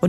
och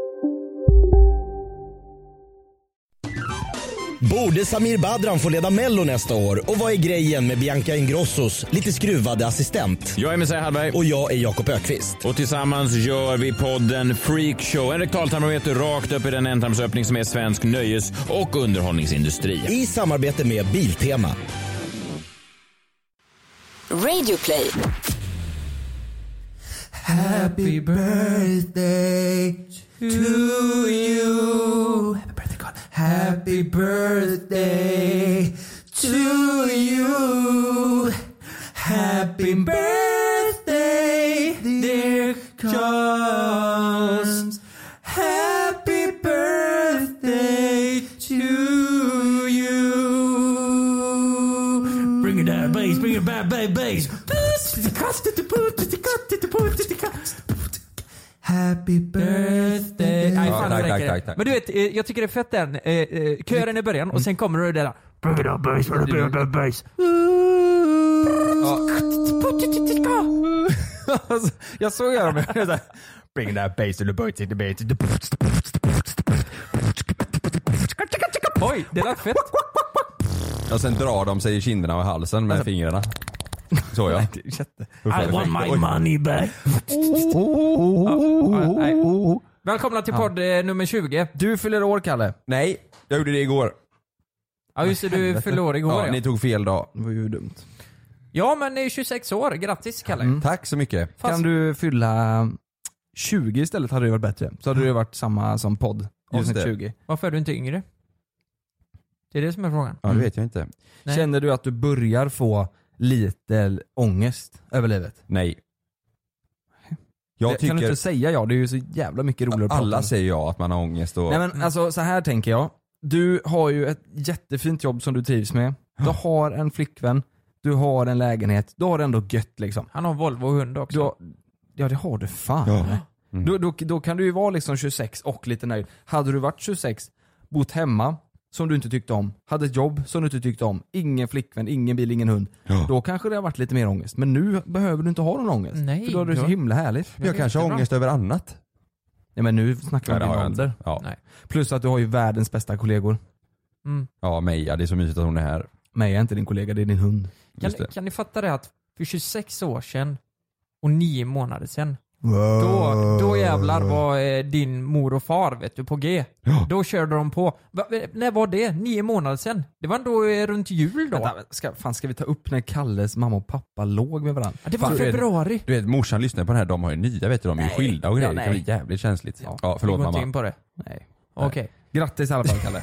Borde Samir Badran få leda Mello nästa år? Och vad är grejen med Bianca Ingrossos lite skruvade assistent? Jag är Messiah Hallberg Och jag är Jakob Ökvist. och tillsammans gör vi podden Freak Show. En rektaltarmometer rakt upp i den ändtarmsöppning som är svensk nöjes och underhållningsindustri. I samarbete med Biltema. Radio play. Happy birthday to you. Happy birthday, God. Happy birthday to you. Happy birthday, dear Charles. Happy birthday to you. Bring it down, bass. Bring it back, bass, bass. Happy birthday. Nej, fan, det räcker. Men du vet, eh, jag tycker det är fett den. eh, eh, Kören i början Mm. och sen kommer det där. Bring it on bass, bring it on bass. Alltså, Jag såg dem. jag såhär, Bring that bass to the boat, to the boat, to the Oj, det lät fett. Och sen drar de sig i kinderna och halsen Alltså- med fingrarna. Så ja. I want my money back. Oh, Välkomna till podd eh, nummer 20. Du fyller år Kalle. Nej, jag gjorde det igår. Ja just det, du fyllde år igår Ja, ja. ni tog fel dag. Det var ju dumt. Ja men det är 26 år, grattis Kalle. Tack så mycket. Fast- Mm. du fylla 20 istället hade det varit bättre. Så hade det varit samma som podd. Just det. Varför är du inte yngre? Det är det som är frågan. Ja, det vet jag inte. Nej. Känner du att du börjar få lite ångest över livet? Nej. Jag Kan du tycker... inte säga ja? Det är ju så jävla mycket roligare att prata Alla om. säger ja att man har ångest och... Nej Mm. men alltså så här tänker jag. Du har ju ett jättefint jobb som du trivs med. Du har en flickvän, du har en lägenhet, du har det ändå gött liksom. Han har Volvo och hund också. Mm. Du har, ja det har du fan. Mm. Då, då, då kan du ju vara liksom 26 och lite nöjd. Hade du varit 26, bott hemma, som du inte tyckte om, hade ett jobb som du inte tyckte om, ingen flickvän, ingen bil, ingen hund. Då kanske det har varit lite mer ångest. Men nu behöver du inte ha någon ångest. Nej, för då är det så då- himla härligt. jag kanske har jättebra. ångest över annat. Nej men nu snackar Nej, vi det om har din jag ålder. inte. Ja. Nej. Plus att du har ju världens bästa kollegor. ja, Meja. Det är så mysigt att hon är här. Nej jag är inte din kollega, det är din hund. Kan, Just det. kan ni fatta det att för 26 år sedan och 9 månader sedan, då, då jävlar var eh, din mor och far vet du, på G. Då körde de på. Va, eh, när var det? 9 månader sedan? Det var ändå eh, runt jul då? Vänta, ska, fan ska vi ta upp när Kalles mamma och pappa låg med varandra? Ja, det var Fan, du vet- februari. Du vet morsan lyssnar på den här, de har ju nya vet du, de är ju skilda och grejer. Ja, det kan nej. bli jävligt känsligt. Ja, Vi förlåt går inte in mamma. på det. Nej. Okej. Grattis i alla fall Kalle.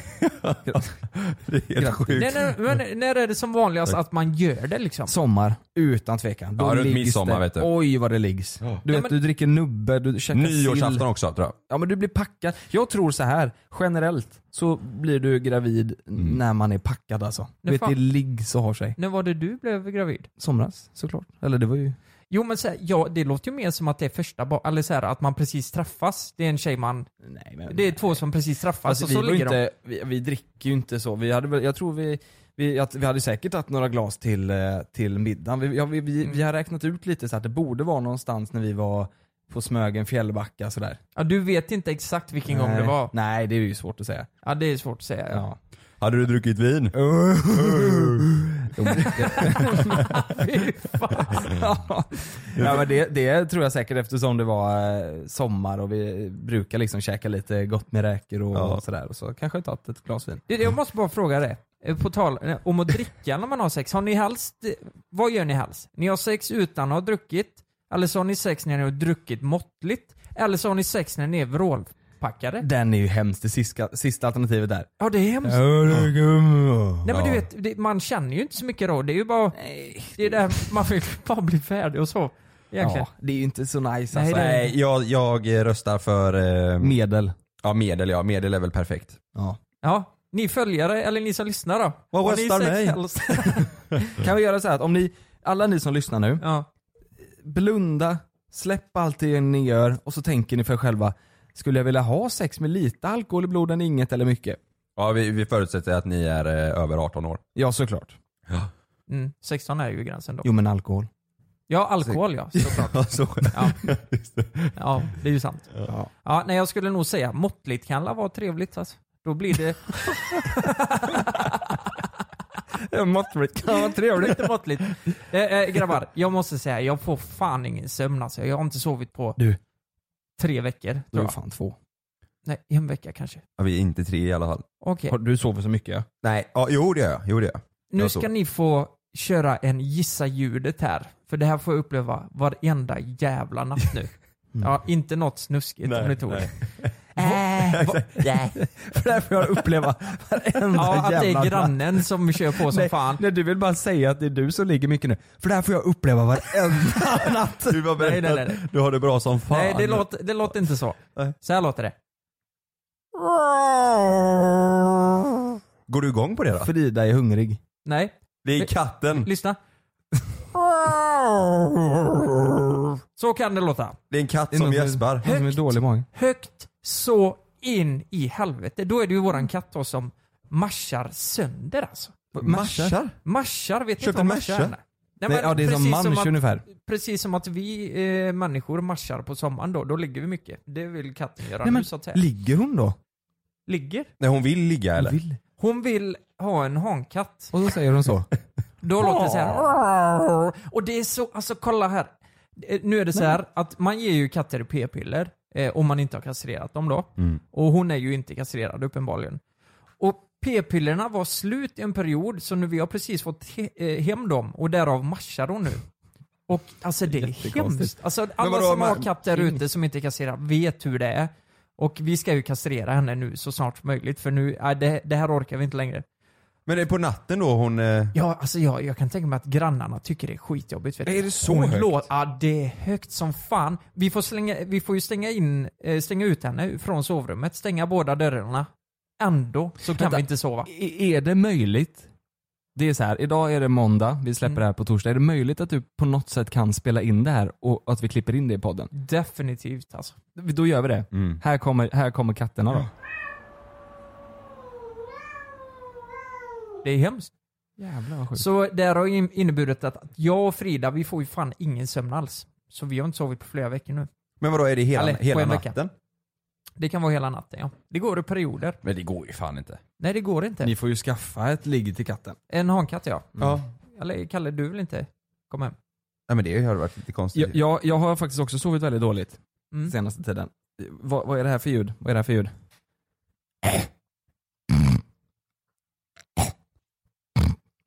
Det är helt sjukt. Nej, nej, men när är det som vanligast att man gör det liksom? Mm. Sommar, utan tvekan. Då Ja, runt liggs midsommar, det. vet du. Oj vad det liggs. Du vet, men- du dricker nubbe, du käkar sill. Nyårsafton också tror jag. Ja men du blir packad. Jag tror så här generellt så blir du gravid när man är packad alltså. Du Nej, vet fan. det liggs och har sig. När var det du blev gravid? Somras såklart. Eller det var ju... Jo men så här, ja, det låter ju mer som att det är första barn, eller så här, att man precis träffas. Det är en tjej man, Nej, men, det är två som precis träffas Alltså, och så vi, var ju ligger de. inte, vi, vi dricker ju inte så. Vi hade väl, jag tror vi, vi, att vi hade säkert haft några glas till, eh, till middagen. Vi, ja, vi, vi, vi har räknat ut lite så att det borde vara någonstans när vi var på Smögen, Fjällbacka sådär. Ja, du vet inte exakt vilken gång Nej. det var. Nej det är ju svårt att säga. Ja det är svårt att säga. Ja. Ja. Hade du druckit vin? Fy fan. ja men det, det tror jag säkert eftersom det var eh, sommar och vi brukar liksom käka lite gott med räkor och, Ja. sådär. Och så kanske jag tagit ett glas vin. Det- Jag måste bara fråga det. eh, på tal eh, om att dricka när man har sex. Har ni hals? d- Vad gör ni hals? Ni har sex utan att ha druckit. Eller så har ni sex när ni har druckit måttligt. Eller så har ni sex när ni är vrålpackade. Den är ju hemskt, det sista, sista alternativet där. Ja, det är hemskt. Nej men du vet, det, man känner ju inte så mycket då. Det är ju bara... Det är där man vill bara bli färdig och så. Egentligen. Ja, det är ju inte så nice Nej, alltså. det- Nej, jag, jag röstar för... Eh, Medel. Ja, medel ja. Medel är väl perfekt. Ja, ni följare eller ni som lyssnar då. Vad Har ni röstar sex ni? helst? Kan vi göra så här att om ni, alla ni som lyssnar nu, ja. blunda, släpp allt det ni gör och så tänker ni för er själva, skulle jag vilja ha sex med lite alkohol i blodet, inget eller mycket? Ja, vi, vi förutsätter att ni är eh, över 18 år. Ja såklart. Mm, 16 är ju gränsen då. Jo men alkohol. Ja, alkohol ja. Såklart. Ja. ja, det är ju sant. Ja. nej, jag skulle nog säga måttligt kan la vara trevligt alltså. Då blir det... måttligt kan vara trevligt. Inte måttligt. Eh, eh, grabbar, jag måste säga, jag får fan ingen sömn alltså. Jag har inte sovit på Du. tre veckor. Då är Tror det jag. fan två. Nej, en vecka kanske. Ja, vi är inte tre i alla fall. Okej. Har- Du sover så mycket ja. Nej. Ja, jo det gör jag. Jo, det gör jag. Nu Jag tror- ska ni få köra en gissa ljudet här. För det här får jag uppleva varenda jävla natt nu. Ja, inte något snuskigt om ni tror det. Äh, va- För det här får jag uppleva varenda ja, att det jävla är natt. grannen som kör på som Nej, fan. nej, du vill bara säga att det är du som ligger mycket nu. För det här får jag uppleva varenda natt. Du har Nej, nej, nej, nej. Du har det bra som fan. Nej, det låter, det låter inte så. Så här låter det. Går du igång på det då? Frida är hungrig. Nej, Det är katten. lyssna. Så kan det låta. Det är en katt Det är som någon som- gäspar. Hon som är dålig i magen. Högt så in i helvete. Då är det ju våran katt då som marschar sönder alltså. Maschar? Marsar, vet ni Köpte inte vad marscha? marsar är? Nej, men Nej, ja, det är som precis mansch att, ungefär. Precis som att vi eh, människor marschar på sommaren då, då ligger vi mycket. Det vill katten göra Nej, men, nu så att säga. ligger hon då? ligger. Nej hon vill ligga eller? Vill. Hon vill ha en hankatt. Och så säger hon så. Då låter det så här. Och det är så, alltså kolla här. Eh, Nu är det så här att man ger ju katter p-piller eh, om man inte har kastrerat dem då. Mm. Och hon är ju inte kastrerad uppenbarligen. Och p-pillerna var slut i en period så nu vi har precis fått he- eh, hem dem och därav marschar hon nu. Och alltså det är hemskt. Alltså, alla vadå, som men- har katt där ute som inte är kastrerad vet hur det är. Och vi ska ju kastrera henne nu så snart som möjligt för nu, äh, det, det här orkar vi inte längre. Men det är på natten då hon... eh, Ja, alltså jag, jag kan tänka mig att grannarna tycker det är skitjobbigt. Vet du. Är det så Hon högt? lå- ja, det är högt som fan. Vi får, slänga, vi får ju stänga, in, eh, stänga ut henne från sovrummet, stänga båda dörrarna. Ändå så kan vi inte sova. I- Är det möjligt? Det är så här, idag är det måndag, vi släpper Mm. det här på torsdag. Är det möjligt att du på något sätt kan spela in det här och att vi klipper in det i podden? Definitivt alltså. Då gör vi det. Mm. Här, kommer, här kommer katterna då. Det är hemskt. Jävlar vad sjukt. Så det här har in- inneburit att att jag och Frida, vi får ju fan ingen sömn alls. Så vi har inte sovit på flera veckor nu. Men vadå är det hela, Eller, på hela en vecka. natten? Det kan vara hela natten ja. Det går i perioder. Men det går ju fan inte. Nej det går inte. Ni får ju skaffa ett ligg till katten. En hankatt ja. Mm. Ja. Eller Kalle, du vill inte komma hem? Nej men det har varit lite konstigt. Jag, jag, jag har faktiskt också sovit väldigt dåligt Mm. senaste tiden. Vad, vad är det här för ljud? Vad är det här för ljud?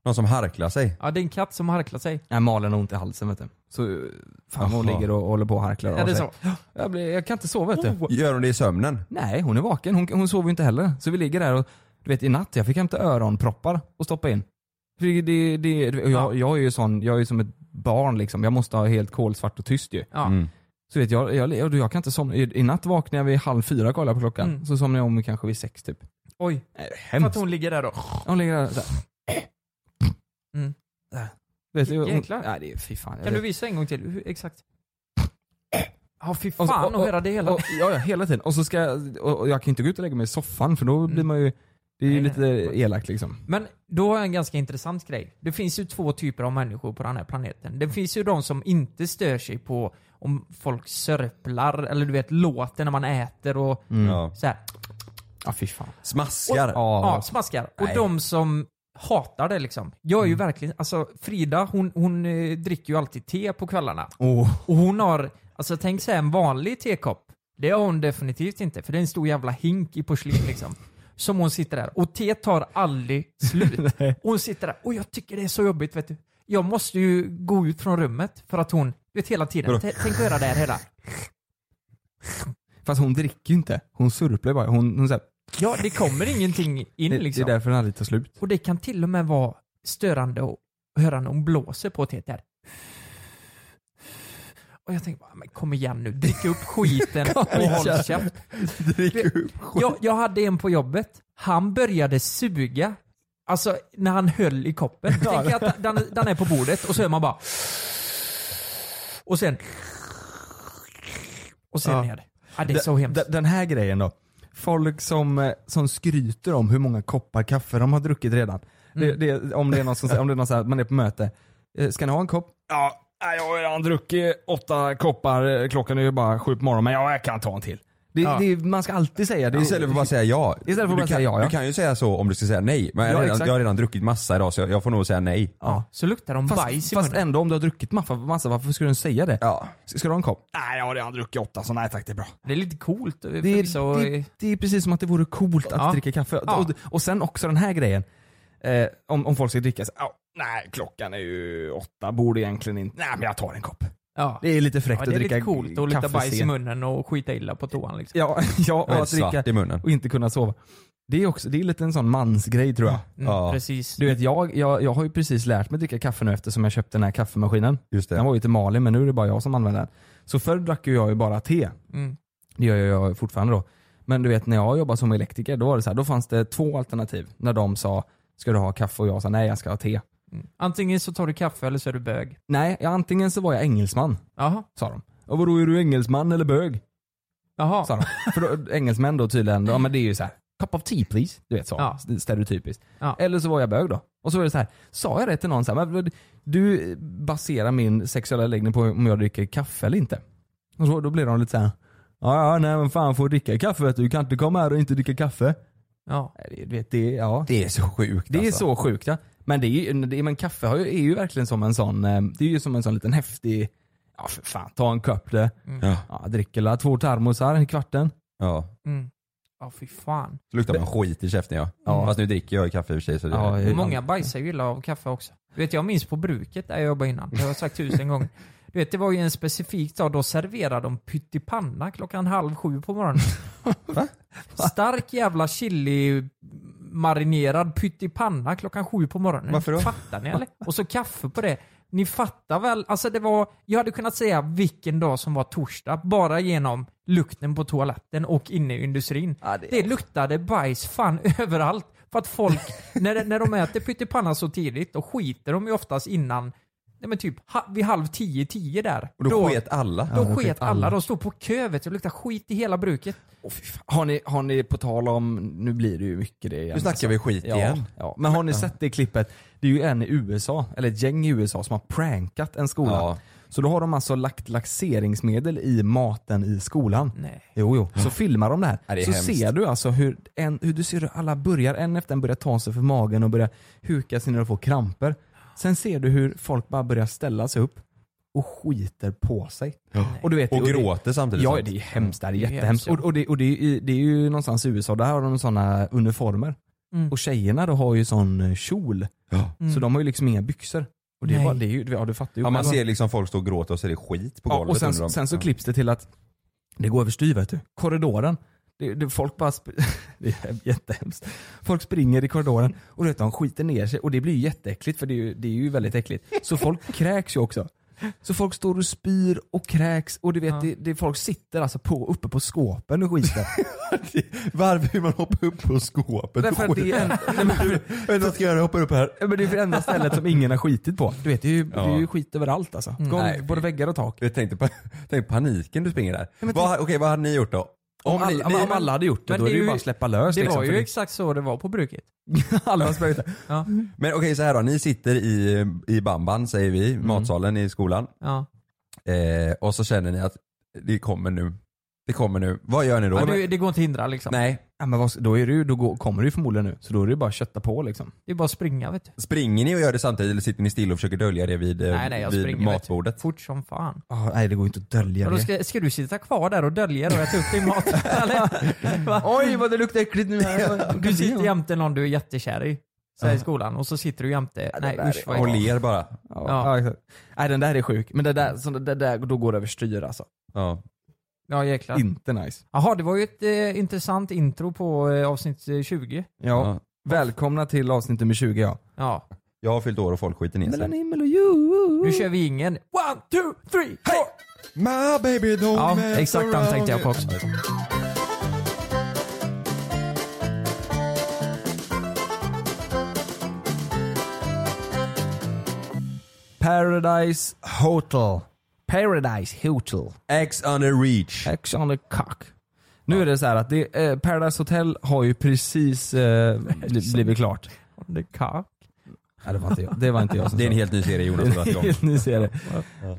Någon som harklar sig. Ja, det är en katt som harklar sig. Nej, Malin har ont i halsen vet du. Så fan hon Jaha. ligger och håller på och harklar av Är det sig. så? Jag, blir, jag kan inte sova vet du. Gör hon det i sömnen? Nej, hon är vaken. Hon, hon sover ju inte heller. Så vi ligger där och du vet i natt, jag fick hämta öronproppar och stoppa in. För det, det, det, och jag, jag är ju sån, jag är ju som ett barn liksom. Jag måste ha helt kolsvart och tyst ju. Ja. Mm. Så vet jag, jag, jag, jag kan inte somna. I, i natt vaknar jag vid halv fyra och kollar på klockan. Mm. Så somnar jag om kanske vid sex typ. Oj, Nej, det är för hemskt. att hon ligger där då. Hon ligger där såhär. Mm. Där. Vet du, hon, Jäklar. Nej det är fy fan. jag Kan du vet. visa en gång till? Hur, exakt. Ja, fy Och så- fan att höra det hela. Och, ja, ja, hela tiden. Och så ska jag, och, och jag kan inte gå ut och lägga mig i soffan för då blir man ju, det är ju Mm. Nej, lite nej, nej. elakt liksom. Men då har jag en ganska intressant grej. Det finns ju två typer av människor på den här planeten. Mm. Det finns ju de som inte stör sig på om folk sörplar eller du vet låter när man äter och Mm. Ja. så här. Ja fy fan. Smaskar. Ja, Ja. smaskar. Och de som hatar det liksom. Jag är ju verkligen, alltså Frida hon, hon eh, dricker ju alltid te på kvällarna. Och hon har, alltså tänk sig en vanlig tekopp. Det har hon definitivt inte, för det är en stor jävla hink i porslin liksom. som hon sitter där. Och te tar aldrig slut. Och hon sitter där och jag tycker det är så jobbigt vet du. Jag måste ju gå ut från rummet för att hon, du vet hela tiden, Vadå? T- tänk att göra det här hela. Fast hon dricker ju inte. Hon surplar bara. Hon, hon så här, Ja, det kommer ingenting in det, liksom. det är därför den aldrig tar slut. Och det kan till och med vara störande att höra när hon blåser på teet där. Och jag tänker bara, men kom igen nu, drick upp skiten och håll käft. Jag, jag hade en på jobbet, han började suga. Alltså när han höll i koppen. Tänk att den, den är på bordet och så hör man bara... Och sen... Och sen Ja. ner. Ja, det är så hemskt. Den- Den här grejen då. Folk som, eh, som skryter om hur många koppar kaffe de har druckit redan. Det, det, om det är någon som säger- om det är någon så här, man är på möte. Eh, Ska ni ha en kopp? Ja, nej, jag har redan druckit åtta koppar. eh, Klockan är ju bara sju på morgonen men ja, jag kan ta en till. Det, Ja. det, man ska alltid säga det. Istället för att bara säga ja. Istället för att Du bara kan, säga ja, ja. Du kan ju säga så om du ska säga nej. Men jag, Ja, har redan, exakt. jag har redan druckit massa idag så jag, jag får nog säga nej. ja. Så luktar de bajs Fast, i fast munnen. ändå om du har druckit massa, massa varför skulle du säga det? Ja. Ska du ha en kopp? Nej, jag har redan druckit åtta så nej tack det är bra. Det är lite coolt. Det är, förvisso. det, det är precis som att det vore coolt att Ja. dricka kaffe. Ja. Och, och sen också den här grejen. Eh, om, om folk ska dricka så, "Ja, nej klockan är ju åtta, borde egentligen inte, nej men jag tar en kopp. ja. Det är lite fräckt Ja, det är att dricka lite coolt att lukta kaffe bajs i sent. munnen och skita illa på toan liksom. Ja, ja och Jag är att svart dricka i munnen. och inte kunna sova. Det är, också, det är lite en sån mansgrej tror jag. Mm, Ja. Precis. Du vet, jag, jag, jag har ju precis lärt mig dricka kaffe nu eftersom jag köpte den här kaffemaskinen. Just Den det. var ju till Malin men nu är det bara jag som använder den. Så förr drack ju jag ju bara te. Mm. Det gör jag fortfarande då. Men du vet när jag jobbade som elektriker, då var det så här, då fanns det två alternativ. När de sa, ska du ha kaffe? Och jag sa, nej jag ska ha te. Mm. Antingen så tar du kaffe eller så är du bög. Nej, ja, antingen så var jag engelsman, Jaha. sa de. Och vadå, är du engelsman eller bög? Jaha. Sa de. För då, engelsmän då tydligen, ja men det är ju så här, cup of tea please. Du vet så, Ja. stereotypiskt. Ja. Eller så var jag bög då. Och så var det så här, sa jag det till någon så här, men, du baserar min sexuella läggning på om jag dricker kaffe eller inte. Och så, då blir de lite så här, ja ja nej men fan får du dricka kaffe vet du, du kan inte komma här och inte dricka kaffe. Ja. Nej, det- Du vet, det, ja. det, Det är så sjukt är alltså. så sjukt ja. Men, det är, ju- det, men kaffe har ju, är ju verkligen som en sån, eh, det är ju som en sån liten häftig, ja för fan ta en kopp det. Ja. Ja, dricker la två termosar i kvarten. Ja. Mm. Ja, fy fan. Så luktar man skit i käften ja. Fast nu dricker jag ju kaffe i och för sig så det Ja, är eh, Många bajsar ju illa av kaffe också. Du vet, jag minns på bruket där jag jobbade innan. Det har jag sagt tusen gånger. Du vet, det var ju en specifik dag, då serverade de pyttipanna klockan halv sju på morgonen. Stark jävla chili marinerad pyttipanna klockan sju på morgonen. Varför då? Fattar ni eller? Och så kaffe på det. Ni fattar väl? Alltså det var, jag hade kunnat säga vilken dag som var torsdag bara genom lukten på toaletten och inne i industrin. det, luktade bajs fan överallt. För att folk, när, när de äter pyttipanna så tidigt, då skiter de ju oftast innan, nej men typ ha, vid halv tio, tio där. Och då, sket alla. då sket alla. De stod på kö vet du, och luktade skit i hela bruket. Åh, fy fan. har, ni, har ni, på tal om, nu blir det ju mycket det igen. alltså. Nu snackar vi skit ja, igen. Ja. Men har ni sett det klippet? Det är ju en i USA, eller ett gäng i USA som har prankat en skola. Ja. Så då har de alltså lagt laxeringsmedel i maten i skolan. Nej. Jo, jo. Så filmar de det här. Ja, det är så hemskt. ser du alltså hur, en, hur du ser hur alla börjar, en efter en börjar ta sig för magen och börjar huka sig när de får kramper. Sen ser du hur folk bara börjar ställa sig upp och skiter på sig. Och, du vet, Och det- gråter samtidigt. Ja, sånt. det är hemskt. Det här är Mm. Det är hemskt, jättehemskt. ja. Och, och, det, och det, är, ju- det är ju någonstans i USA, där har de sådana uniformer. Mm. Och tjejerna då har ju sån eh, kjol. Så de har ju liksom inga byxor. Och det är Nej. bara, det är ju, ja du fattar ju. Ja, man själv. ser liksom folk stå och gråta och så är det skit på ja, golvet och sen, under dem. sen så Ja. klipps det till att det går överstyr vet du. Korridoren. Det, det, folk bara, sp- det är jättehemskt. Folk springer i korridoren och du vet, de skiter ner sig och det blir ju jätteäckligt för det är ju, det är ju väldigt äckligt. Så folk kräks ju också. Så folk står och spyr och kräks och du vet, det, det, folk sitter alltså på, uppe på skåpen och skiter. Varför vill man hoppa upp på skåpet? Därför att det är, nej, men, för- Jag vet inte vad jag ska göra, jag hoppar upp här. men det är det enda stället som ingen har skitit på. Du vet, det är ju, det är ju skit överallt alltså. Golv, Mm. Nej, både väggar och tak. Jag tänkte, pa- tänk paniken du springer där. Vad, okej, vad hade ni gjort då? Om, alla, ni- om alla hade gjort det, men då är det är det ju ju- bara att släppa lös. Det liksom, var för ju exakt så det var på bruket. alla sprang ut där. Ja, Men okej så här då, ni sitter i, i bamban säger vi, Mm. matsalen i skolan. ja. Eh, och så känner ni att det kommer nu, det kommer nu. Vad gör ni då? Ja, du, det går inte att hindra liksom. Nej, Ja, men vad, då är det, ju- då går, kommer det ju förmodligen nu, så då är det ju bara att kötta på liksom. Det är bara att springa vet du. springer ni och gör det samtidigt eller sitter ni still och försöker dölja det vid, eh, Nej nej jag vid springer vet du. matbordet? Fort som fan. Ah, nej det går ju inte att dölja Och då ska, ska du sitta kvar där och dölja dig och äta upp din mat? eller? Va? Oj vad det luktar äckligt nu här. Du sitter jämte någon du är jättekär i. Så här i skolan och så sitter du jämte, nej usch vad Och äckligt. ler bara. Ja, Ja. ja, exakt. Nej den där är sjuk, men det där, så det där- där då går det överstyr alltså. Ja. Ja jäklar. Inte nice. Jaha det var ju ett eh, intressant intro på eh, avsnitt eh, 20. Ja. Ja. Välkomna till avsnitt nummer 20 ja. Ja. Jag har fyllt år och folk skiter ner sig. himmel och jord. Nu kör vi ingen. One, two, three, four! My baby don't Ja, mess exakt den tänkte jag på också. around. Paradise Hotel. Paradise Hotel. X on a reach. X on the cock. Nu är det så här att det, eh, Paradise Hotel har ju precis eh, bli- blivit klart. On the cock. Nej, det var inte jag, det var inte jag som Det är en sa helt ny serie Jonas har dragit igång. Ni ser det.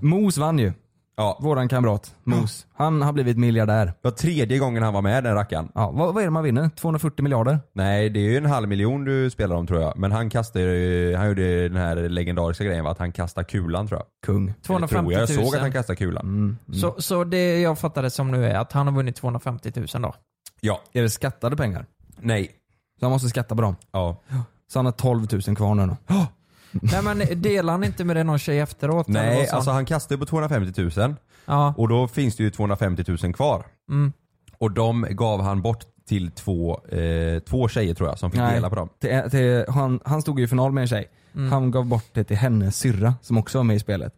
Mos vann ju. Ja. Våran kamrat Mos. Han har blivit miljardär. Det var tredje gången han var med den rackaren. Ja, vad, vad är det man vinner? 240 miljarder? Nej det är ju en halv miljon du spelar om tror jag. Men han kastade ju- han gjorde den här legendariska grejen va? att han kastade kulan tror jag. Kung. Eller tror 250 000. Jag Jag såg att han kastade kulan. så, så det jag fattade som nu är att han har vunnit 250 000 då. Ja. Är det skattade pengar? Nej. Så han måste skatta på dem. Ja. Så han har 12 000 kvar nu då. Nej men delar han inte med det någon tjej efteråt? eller vad Nej sa alltså han? han kastade på 250 000 Ja. och då finns det ju 250 000 kvar. Mm. Och de gav han bort till två, eh, två tjejer tror jag som fick Nej. dela på dem. Till, till, han, han stod ju i final med en tjej. Han gav bort det till hennes syrra som också var med i spelet.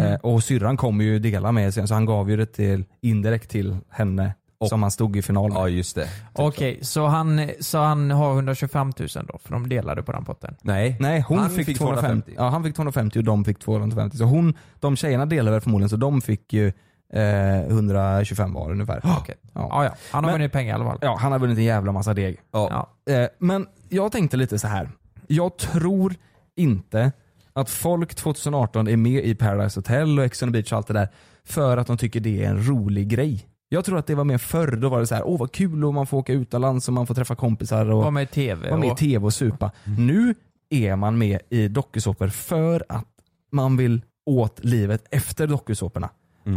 Eh, och syrran kommer ju dela med sig så han gav ju det till, indirekt till henne som han stod i final med. Ja just det. Okej, så, han, så han har 125 000 då för de delade på den potten. Nej. Nej, hon Han fick, fick 250. 250. Ja, han fick 250 och de fick 250. Så hon, de tjejerna delade väl förmodligen så de fick ju eh, 125 var ungefär. Okej. Ja. Ja, ja. Han har Men- vunnit pengar i alla fall. Ja, han har vunnit en jävla massa deg. Ja. Eh, men jag tänkte lite så här. Jag tror inte att folk 2018 är med i Paradise Hotel och Ex on the Beach och allt det där för att de tycker det är en rolig grej. Jag tror att det var mer förr, då var det så här, åh vad kul och man får åka utomlands och man får träffa kompisar och Var med i TV. vara med i och- tv och supa. Nu är man med i dokusåpor för att man vill åt livet efter dokusåporna.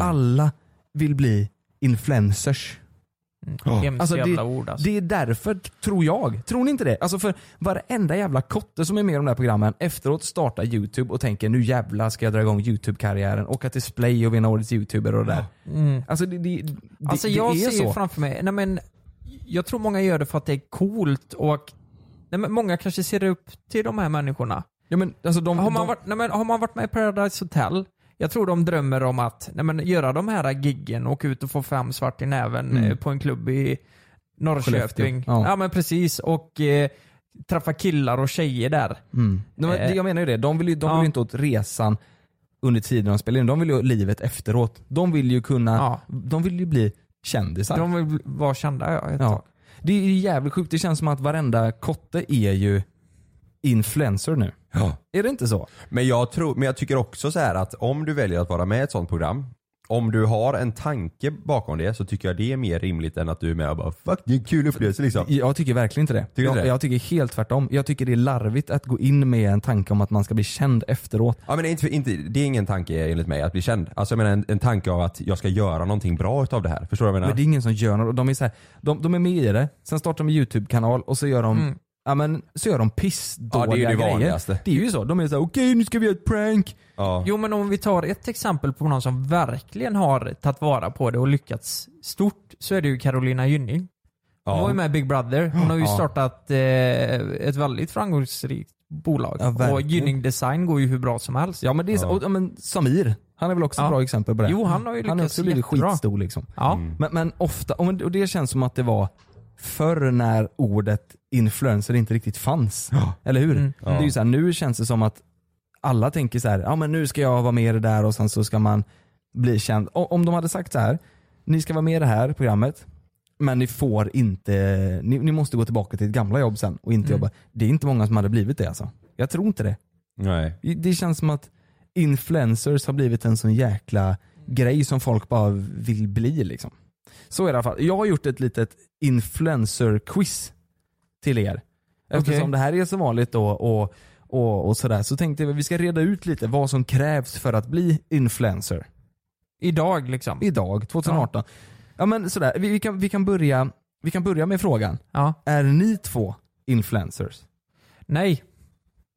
Alla vill bli influencers. Mm. Hemskt Alltså, jävla ord alltså. Det är därför, tror jag. Tror ni inte det? Alltså för varenda jävla kotte som är med i de där programmen efteråt startar YouTube och tänker nu jävla ska jag dra igång YouTube-karriären, åka till Splay och vinna årets YouTuber och det där. Mm. Alltså det, det, det, Alltså det jag är ser ju så. framför mig, nej men jag tror många gör det för att det är coolt och nej men många kanske ser upp till de här människorna. Ja, men, alltså de, Har man, de, varit, nej men, har man varit med i Paradise Hotel, jag tror de drömmer om att nej men, göra de här giggen, åka ut och få fem svart i näven Mm. eh, på en klubb i Norrköping. Skellefteå, ja. Ja. men precis. Och eh, träffa killar och tjejer där. Eh, Mm. Nej, men, det- jag menar ju det, de vill ju, de vill Ja. ju inte åt resan under tiden de spelar in, de vill ju åt livet efteråt. De vill ju kunna, Ja. de vill ju bli kändisar. De vill bli- vara kända ja, ett tag. ja. Det är ju jävligt sjukt, det känns som att varenda kotte är ju influencer nu. Ja. Är det inte så? Men jag, tror, men jag tycker också så här att om du väljer att vara med i ett sånt program, om du har en tanke bakom det så tycker jag det är mer rimligt än att du är med och bara fuck det är en kul upplevelse liksom. Jag tycker verkligen inte det. du jag, inte det? jag tycker helt tvärtom. Jag tycker det är larvigt att gå in med en tanke om att man ska bli känd efteråt. Ja, men det är inte, inte, det är ingen tanke enligt mig att bli känd. Alltså jag menar en, en tanke av att jag ska göra någonting bra utav det här. Förstår du vad jag menar? Men det är ingen som gör något. Och De är, så här, de, de är med i det, sen startar de en YouTube-kanal och så gör de Ja men så gör de Ja, pissdåliga det är ju det grejer. vanligaste. Det är ju så. De är såhär, okej nu ska vi göra ett prank. ja. Jo men om vi tar ett exempel på någon som verkligen har tagit vara på det och lyckats stort så är det ju Carolina Gynning. Hon var ju med i Big Brother. Hon har ju startat eh, ett väldigt framgångsrikt bolag. Ja, verkligen. och Gynning Design går ju hur bra som helst. Ja men det är så, och, ja, men Samir, han är väl också Ja. ett bra exempel på det. Jo, han har ju Han är lyckats också blivit jättebra. skitstor liksom. Ja. Men, men ofta, och men- och det känns som att det var förr när ordet influencer inte riktigt fanns. Eller hur? Mm. Det är ju så här, nu känns det som att alla tänker så här, ja men nu ska jag vara med i det där och sen så ska man bli känd. O- Om de hade sagt så här, ni ska vara med i det här programmet, men ni får inte, ni, ni måste gå tillbaka till ett gamla jobb sen och inte jobba. Det är inte många som hade blivit det alltså. Jag tror inte det. Nej. Det känns som att influencers har blivit en sån jäkla grej som folk bara vill bli liksom. Så är det i alla fall. Jag har gjort ett litet influencer-quiz till er. Eftersom Okej. det här är som vanligt då och, och, och sådär så tänkte jag att vi ska reda ut lite vad som krävs för att bli influencer. Idag liksom. Idag, 2018. Ja, men sådär, vi, vi, kan, vi, kan börja, vi kan börja med frågan. Ja. Är ni två influencers? Nej,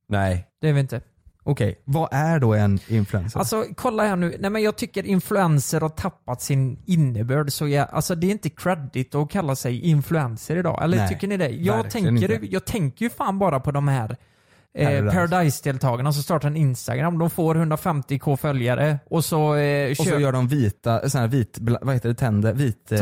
Nej. det är vi inte. Okej, vad är då en influencer? Alltså kolla här nu. Nej men jag tycker influencer har tappat sin innebörd. Så jag, alltså det är inte credit att kalla sig influencer idag. Eller Nej, tycker ni det? Jag verkligen tänker, inte. jag tänker ju fan bara på de här eh, Paradise. Paradise-deltagarna som startar en Instagram. De får 150k följare och så eh, och så köper- gör de vita, eh, sån här vit, bla- vad heter det, tänder, vit... eh,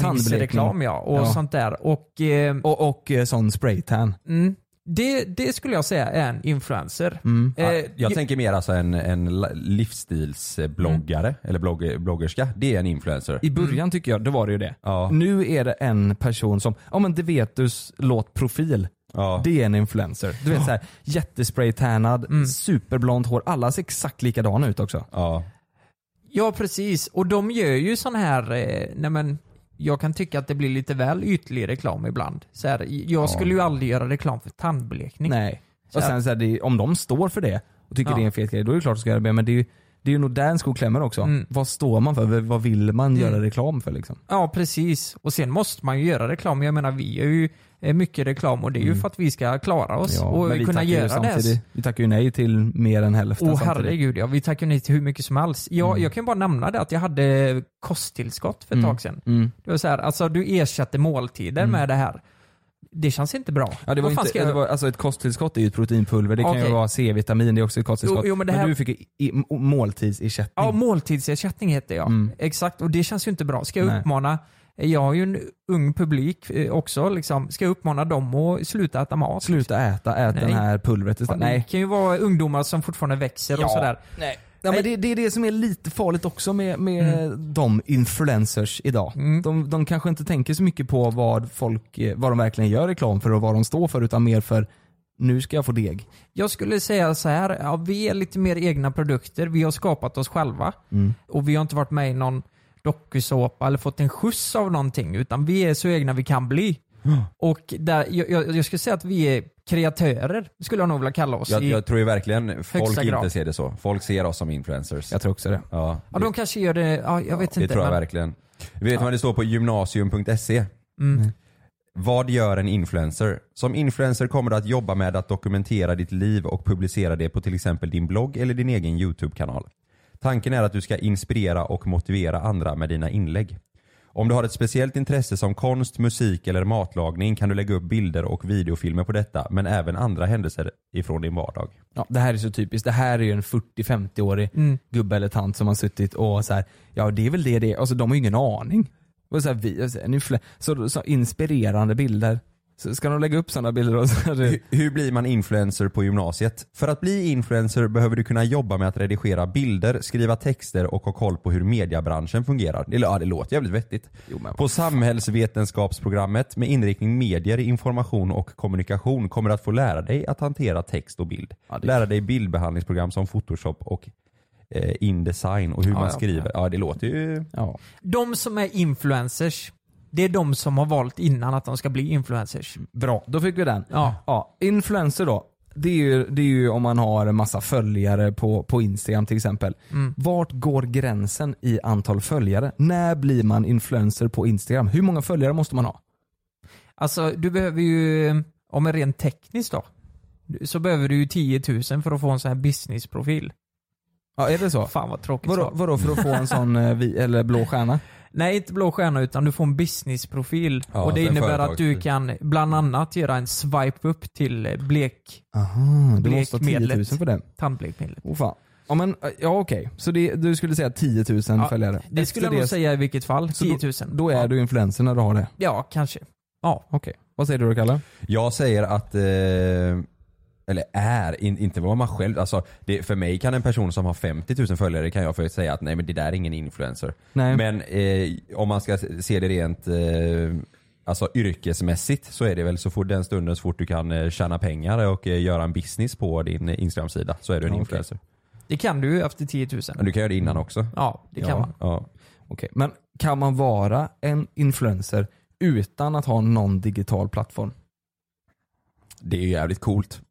Tandblekningsreklam ja, och Ja. sånt där. Och, eh, Och, och eh, sån spraytan. mm, det, det skulle jag säga är en influencer. Mm. Eh, jag, jag- tänker mer alltså en, en la- mm, livsstilsbloggare, eller blogg, bloggerska. Det är en influencer. I början tycker jag, då var det ju det. Ja. Nu är det en person som, ja men det vet du låt profil. Ja. Det är en influencer. Du vet såhär, jättespraytannad, Mm. superblont hår. Alla ser exakt likadana ut också. Ja. Ja precis, och de gör ju sån här, eh, nej men jag kan tycka att det blir lite väl ytlig reklam ibland. Så här, jag skulle ju aldrig göra reklam för tandblekning. Nej. Och Så- sen så här, det, är- om de står för det och tycker Ja. det är en fet grej, då är det klart att de ska göra det. Men det är ju, det är ju nog där en sko klämmer också. Mm. Vad står man för? V- Vad vill man göra reklam för liksom? Ja precis, och sen måste man ju göra reklam. Jag menar vi gör ju eh, mycket reklam och det är ju för att vi ska klara oss och Mm. men vi kunna tackar ju göra det. samtidigt- Vi tackar ju nej till mer än hälften Åh samtidigt. Mm. herregud ja, vi tackar nej till hur mycket som helst. Jag, jag kan bara nämna det att jag hade kosttillskott för ett tag sedan. Mm. Det var så här, alltså du ersatte måltider med det här. Det känns inte bra. Ja, det var Vad fan inte, ska jag- det var, alltså ett kosttillskott är ju ett proteinpulver, det kan Okej. ju vara C-vitamin, det är också ett kosttillskott. Jo, jo, men det här- du fick i, i, må- måltidsersättning. Ja, måltidsersättning heter jag. Mm. Exakt, och det känns ju inte bra. Ska jag Nej. uppmana, jag har ju en ung publik eh, också, liksom. ska jag uppmana dem att sluta äta mat? Sluta äta, ät Nej. den här pulvret Fan, istället. Det Nej. kan ju vara ungdomar som fortfarande växer och sådär. Nej. Ja, men det, det är det som är lite farligt också med, med de influencers idag. Mm. De, de kanske inte tänker så mycket på vad, folk, eh, vad de verkligen gör reklam för och vad de står för, utan mer för nu ska jag få deg. Jag skulle säga så här, ja, vi är lite mer egna produkter. Vi har skapat oss själva. Mm. Och vi har inte varit med i någon dokusåpa eller fått en skjuts av någonting. Utan vi är så egna vi kan bli. Och där, jag, jag, jag skulle säga att vi är kreatörer, skulle jag nog vilja kalla oss. Jag, i, jag tror ju verkligen folk högsta inte grad. ser det så. Folk ser oss som influencers. Jag tror också det. Ja, ja, de kanske gör det, ja, jag vet det inte. tror jag men- verkligen. Vet du vad det står på gymnasium.se? Mm. Vad gör en influencer? Som influencer kommer du att jobba med att dokumentera ditt liv och publicera det på till exempel din blogg eller din egen YouTube-kanal. Tanken är att du ska inspirera och motivera andra med dina inlägg. Om du har ett speciellt intresse som konst, musik eller matlagning kan du lägga upp bilder och videofilmer på detta men även andra händelser ifrån din vardag. Ja, det här är så typiskt. Det här är ju en 40-50-årig Mm. gubbe eller tant som har suttit och så här, ja det är väl det det är. Alltså de har ju ingen aning. Och så, här, vi, så, här, nu flä- så, så inspirerande bilder. Så ska de lägga upp sådana bilder? Och så här, Hur, hur blir man influencer på gymnasiet? För att bli influencer behöver du kunna jobba med att redigera bilder, skriva texter och ha koll på hur mediebranschen fungerar. Det, ja, det låter jävligt vettigt. På samhällsvetenskapsprogrammet med inriktning medier, information och kommunikation kommer du att få lära dig att hantera text och bild. Lära dig bildbehandlingsprogram som photoshop och eh, Indesign och hur man ja. skriver. Ja, det låter ju... ja. De som är influencers, det är de som har valt innan att de ska bli influencers. Bra, då fick vi den. Ja. Ja, influencer då. Det är, ju, det är ju om man har en massa följare på, på Instagram till exempel. Mm. Vart går gränsen i antal följare? När blir man influencer på Instagram? Hur många följare måste man ha? Alltså du behöver ju, om är rent tekniskt då, så behöver du ju 10 000 för att få en sån här businessprofil. Ja, är det så? Fan vad tråkigt Vadå, svar. vadå för att få en sån eh, vi, eller blå stjärna? Nej inte blå stjärna utan du får en businessprofil. Ja, och det för en innebär att du typ. företagsprofil. kan bland annat göra en swipe upp till eh, blek, Aha, du måste ha 10 Blekmedlet. 000 för det. tandblekmedlet. Åh fan. Ja, men, eh, ja okej, så det, du skulle säga 10 000 Ja, följare? Det skulle jag Efter nog säga i vilket fall. Så då- 10 000. Då är du influencer när du har det? Ja, kanske. Ja. Okej. Vad säger du då Kalle? Jag säger att, eh, eller är, in, inte vad man själv, alltså det, för mig kan en person som har 50 000 följare kan jag för säga att nej men det där är ingen influencer. Nej. Men eh, om man ska se det rent eh, alltså yrkesmässigt så är det väl så fort den stunden så fort du kan eh, tjäna pengar och eh, göra en business på din eh, Instagram-sida så är du en Ja, okej. influencer. Det kan du ju efter 10 000. Men du kan göra det innan också. Ja, det kan man. Ja. Okej, men kan man vara en influencer utan att ha någon digital plattform? Det är ju jävligt coolt.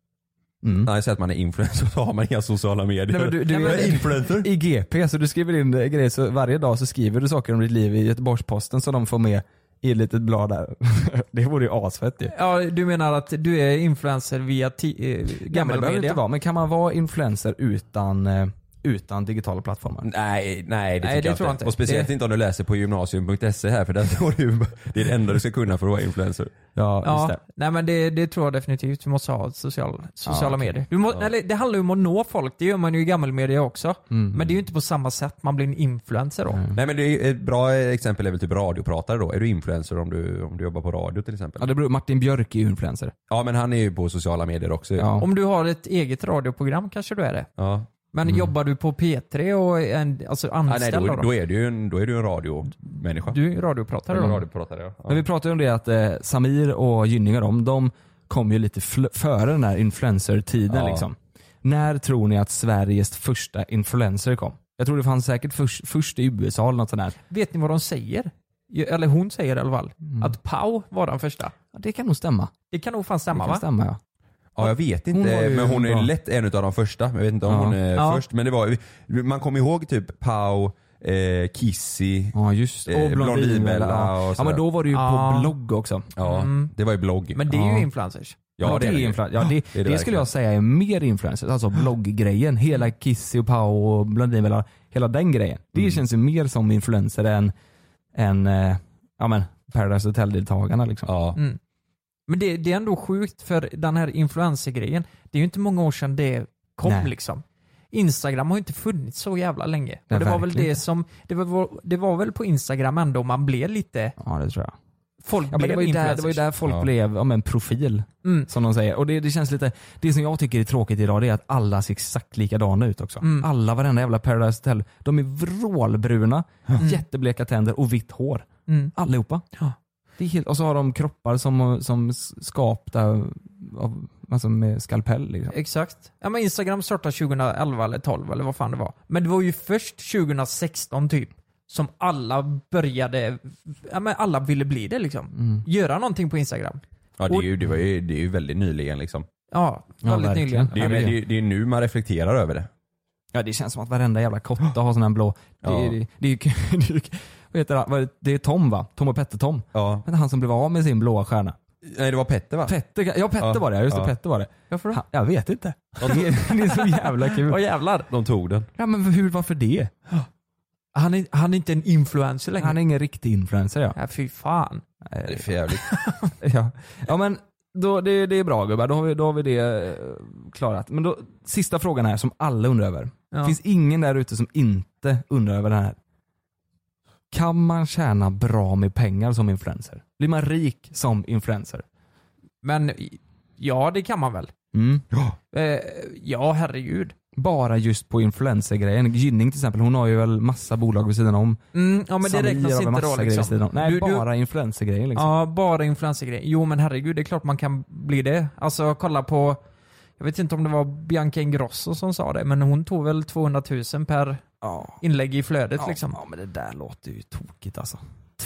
Mm. När jag säger att man är influencer så har man inga sociala medier. Nej, men du- du jag är- är influencer. I GP, så du skriver in eh, grejer, så varje dag så skriver du saker om ditt liv i Göteborgs-Posten som de får med i ett litet blad där. det vore ju asfett ju. Ja, du menar att du är influencer via ti- eh, Ja, men gammal det behöver media? inte vara, men kan man vara influencer utan, eh, utan digitala plattformar? Nej, nej det Nej, tycker det jag tror jag inte. inte. Och speciellt Det- inte om du läser på gymnasium.se här för där står det ju, det är det enda du ska kunna för att vara influencer. Ja, just Ja, det. nej men det, det tror jag definitivt. Du måste ha social, sociala medier. Du må, eller, det handlar ju om att nå folk, det gör man ju i gammelmedia också. Men det är ju inte på samma sätt man blir en influencer då. Mm. Nej men det är ju- ett bra exempel är väl typ radiopratare då. Är du influencer om du, om du jobbar på radio till exempel? Ja, det beror, Martin Björk är ju influencer. Ja men han är ju på sociala medier också. Ja. Om du har ett eget radioprogram kanske du är det. ja. Men jobbar du på P3 och är en, alltså Ah, nej, anställd då, då? då, är du ju en, då är du en radiomänniska. Du är ju radiopratare Eller då? radiopratare ja. Men vi pratade ju om det att eh, Samir och Gynning och de, de kom ju lite fl- före den här influencer-tiden Ja. liksom. När tror ni att Sveriges första influencer kom? Jag tror det fanns säkert först, först i USA eller något sånt där. Vet ni vad de säger? Ju- Eller hon säger i alla fall. Att Pau var den första. Mm. Ja, det kan nog stämma. Det kan nog fan Det stämma kan va? stämma ja. Ja jag vet inte, Hon var ju men hon är bra. lätt en av de första. Jag vet inte om Ja. hon är Ja. först. Men det var, man kommer ihåg typ Pau, eh, Kissy. Ja just det. Eh, Och Blondinbella. Blondinbella och Ja. ja sådär. men då var det ju Ja. på blogg också. Ja, Mm. det var ju blogg. Men det är Ja. ju influencers. ja, det, är ju. influ- ja, det, det är det det, skulle verkligen. jag säga är mer influencer. Alltså blogggrejen. Hela Kissy och Pau och Blondinbella. Hela den grejen. Det Mm. känns ju mer som influencer än, än eh, ja, men Paradise Hotel-deltagarna. Liksom. Ja. Mm. Men det, det är ändå sjukt för den här influencer-grejen, det är ju inte många år sedan det kom Nej. liksom. Instagram har ju inte funnits så jävla länge. Nej, och det var väl verkligen det inte. som, det var, det var väl på Instagram ändå man blev lite, Ja det tror jag. folk Ja, men blev det, var ju där, influencers. det var ju där folk Ja. blev ja, men profil. Mm. Som de säger. Och det, det känns lite, det som jag tycker är tråkigt idag det är att alla ser exakt likadana ut också. Mm. Alla, varenda jävla Paradise Hotel. De är vrålbruna, jättebleka tänder och vitt hår. Mm. Allihopa. Ja. Det är helt, och så har de kroppar som, som skapta av, alltså med skalpell. Liksom. Exakt. Ja men Instagram startade 2011 eller 12 eller vad fan det var. Men det var ju först 2016 typ som alla började, ja men alla ville bli det liksom. Mm. Göra någonting på Instagram. Ja, det, är ju, det, var ju, det är ju väldigt nyligen liksom. Ja, väldigt verkligen. nyligen. Det är, ju, det, är, ju- det är nu man reflekterar över det. Ja det känns som att varenda jävla kotta har sån här blå. Det, Ja. är det, det, är ju- det, är ju- vad heter han? Vad är det? det är Tom va? Tom och Petter-Tom. Ja. Men det är Han som blev av med sin blåa stjärna. Nej det var Petter va? Petter, kan- ja Petter Ja, var det, just det, ja. Petter var det. Varför då? Han, jag vet inte. Det är, det är så jävla kul. Åh jävlar. De tog den. Ja men hur, varför det? Han är, han är inte en influencer längre. Han är ingen riktig influencer ja. Ja, fy fan. Det är för jävligt. Ja, ja men då, det, det är bra gubbar, då har vi, då har vi det eh, klarat. Men då, sista frågan här som alla undrar över. Ja. Finns ingen där ute som inte undrar över den här? Kan man tjäna bra med pengar som influencer? Blir man rik som influencer? Men ja, det kan man väl? Mm. Eh, ja, herregud. Bara just på influencergrejen. Gynning till exempel, hon har ju väl massa bolag vid sidan om. Mm, ja, men det Samir räknas har inte väl då massa grejer vid sidan liksom. om. Nej, Du- du- bara influencergrejer liksom. Ja, bara influencergrejer. Jo, men herregud, det är klart man kan bli det. Alltså, kolla på... Jag vet inte om det var Bianca Ingrosso som sa det, men hon tog väl 200 000 per Ja. inlägg i flödet Ja, liksom. ja men det där låter ju tokigt alltså.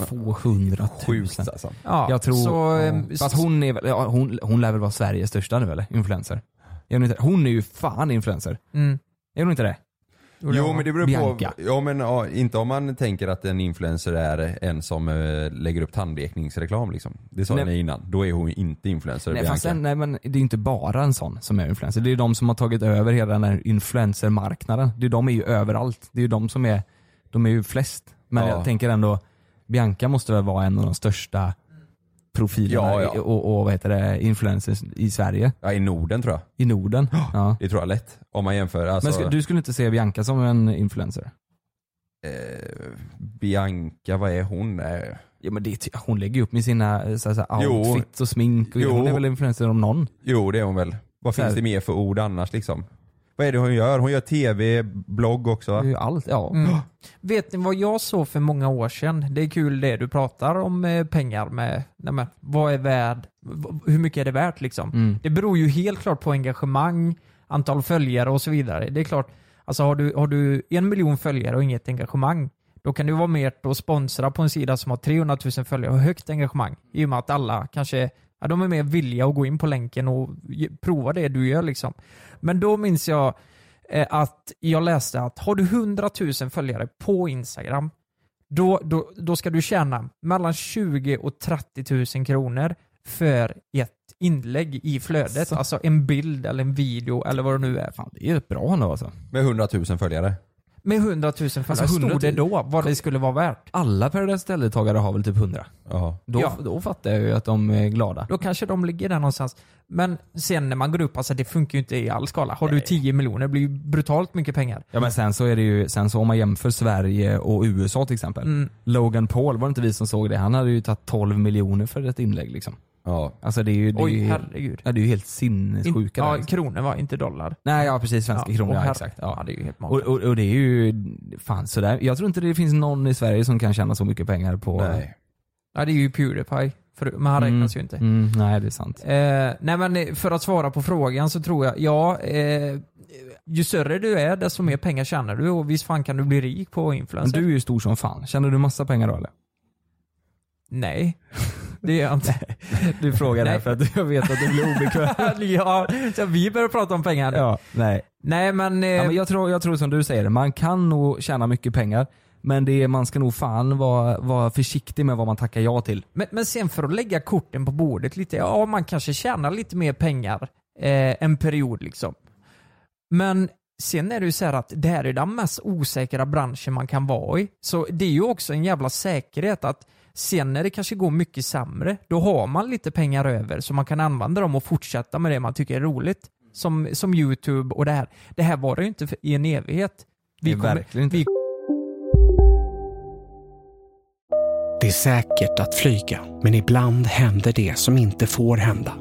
200 000. Sjukt alltså. Ja, Jag tror... så, ja. ehm, Fast hon är väl, ja, hon, hon lär väl vara Sveriges största nu eller? Influencer. Är hon, inte, hon är ju fan influencer. Mm. Är hon inte det? Jo men det beror Bianca. på. Ja, men, ja, inte om man tänker att en influencer är en som eh, lägger upp tandlekningsreklam liksom. Det sa Nej. ni innan. Då är hon inte influencer Nej, Bianca. fast sen, nej men det är ju inte bara en sån som är influencer. Det är ju de som har tagit över hela den här influencermarknaden. Det är, de är ju överallt. Det är ju de som är, de är ju flest. Men Ja. jag tänker ändå, Bianca måste väl vara en av de största profilerna Ja, ja. i- Och, och vad heter det, influencers i Sverige. Ja, I Norden tror jag. I Norden. Ja. Det tror jag lätt. Om man jämför. Alltså, Men sk- du skulle inte se Bianca som en influencer? eh, Bianca, vad är hon? Eh, Ja, men det, hon lägger ju upp med sina eh, så här, så här, Jo. outfits och smink. Och Jo. Hon är väl influencer om någon? Jo det är hon väl. Vad Så här. finns det mer för ord annars liksom? Vad är det hon gör? Hon gör tv, blogg också Det är va? ju allt. Ja. Mm. Vet ni vad jag såg för många år sedan? Det är kul det du pratar om eh, pengar med. Nej men, vad är värd? v- Hur mycket är det värt liksom? Mm. Det beror ju helt klart på engagemang, antal följare och så vidare. Det är klart, alltså har du, har du en miljon följare och inget engagemang, Då kan det vara mer att sponsra på en sida som har 300 000 följare och högt engagemang. I och med att alla kanske ja, de är mer villiga att gå in på länken och ge- prova det du gör. liksom. Men då minns jag eh, att jag läste att har du 100 000 följare på Instagram, då, då, då ska du tjäna mellan 20 000 och 30 000 kronor för ett inlägg i flödet. Alltså en bild eller en video eller vad det nu är. Fan, det är ju bra ändå alltså. Med 100 000 följare. Med 100 000 följare Alltså, 100 000. stod det då vad det skulle vara värt. Alla Paradise Hotel-deltagare har väl typ 100? Ja. Då, Ja. då fattar jag ju att de eh, är glada. Då kanske de ligger där någonstans. Men sen när man går upp, alltså det funkar ju inte i all skala. Har du 10 miljoner blir ju brutalt mycket pengar. Ja men sen så är det ju, sen så om man jämför Sverige och USA till exempel. Mm. Logan Paul, var det inte vi som såg det? Han hade ju tagit 12 miljoner för ett inlägg liksom. ja. Alltså det är ju, det är Oj, ju, herregud. ja, det är ju helt In- sinnessjuka där, ja, liksom. kronor var inte dollar. Nej ja precis, svenska Ja, kronor. och Ja, herre- exakt. Ja. ja, det är ju helt och, magiskt. och, och det är ju, fan sådär. Jag tror inte det finns någon i Sverige som kan tjäna så mycket pengar på... Nej. Ja, det är ju Pewdiepie, för, men han räknas ju inte. Mm, nej det är sant. Eh, nej men eh, för att svara på frågan så tror jag, ja, eh, ju större du är desto mer pengar tjänar du och visst fan kan du bli rik på Men influencer? du är ju stor som fan. Tjänar du massa pengar då eller? Nej, det är jag inte. Du frågar det här för att jag vet att du blir obekväm. ja, så vi börjar prata om pengar nu. ja, nej. Nej men, eh, Ja, men jag, tror, jag tror som du säger, man kan nog tjäna mycket pengar men det är, man ska nog fan vara, vara försiktig med vad man tackar ja till. Men, men sen för att lägga korten på bordet lite, ja man kanske tjänar lite mer pengar eh, en period liksom. Men sen är det ju så här att det här är den mest osäkra branschen man kan vara i. Så det är ju också en jävla säkerhet att sen när det kanske går mycket sämre, då har man lite pengar över så man kan använda dem och fortsätta med det man tycker är roligt. Som, som YouTube och det här. Det här var det ju inte för, i en evighet. Vi Det är verkligen inte. Vi Det är säkert att flyga, men ibland händer det som inte får hända.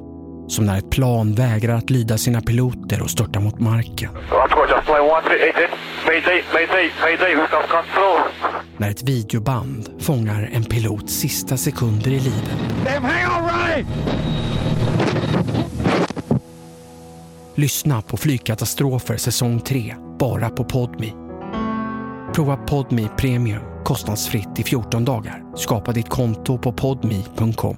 Som när ett plan vägrar att lyda sina piloter och störtar mot marken. När ett videoband fångar en pilots sista sekunder i livet. Lyssna på Flygkatastrofer säsong 3, bara på Podmi. Prova Podmi Premium kostnadsfritt i 14 dagar. Skapa ditt konto på podmi.com.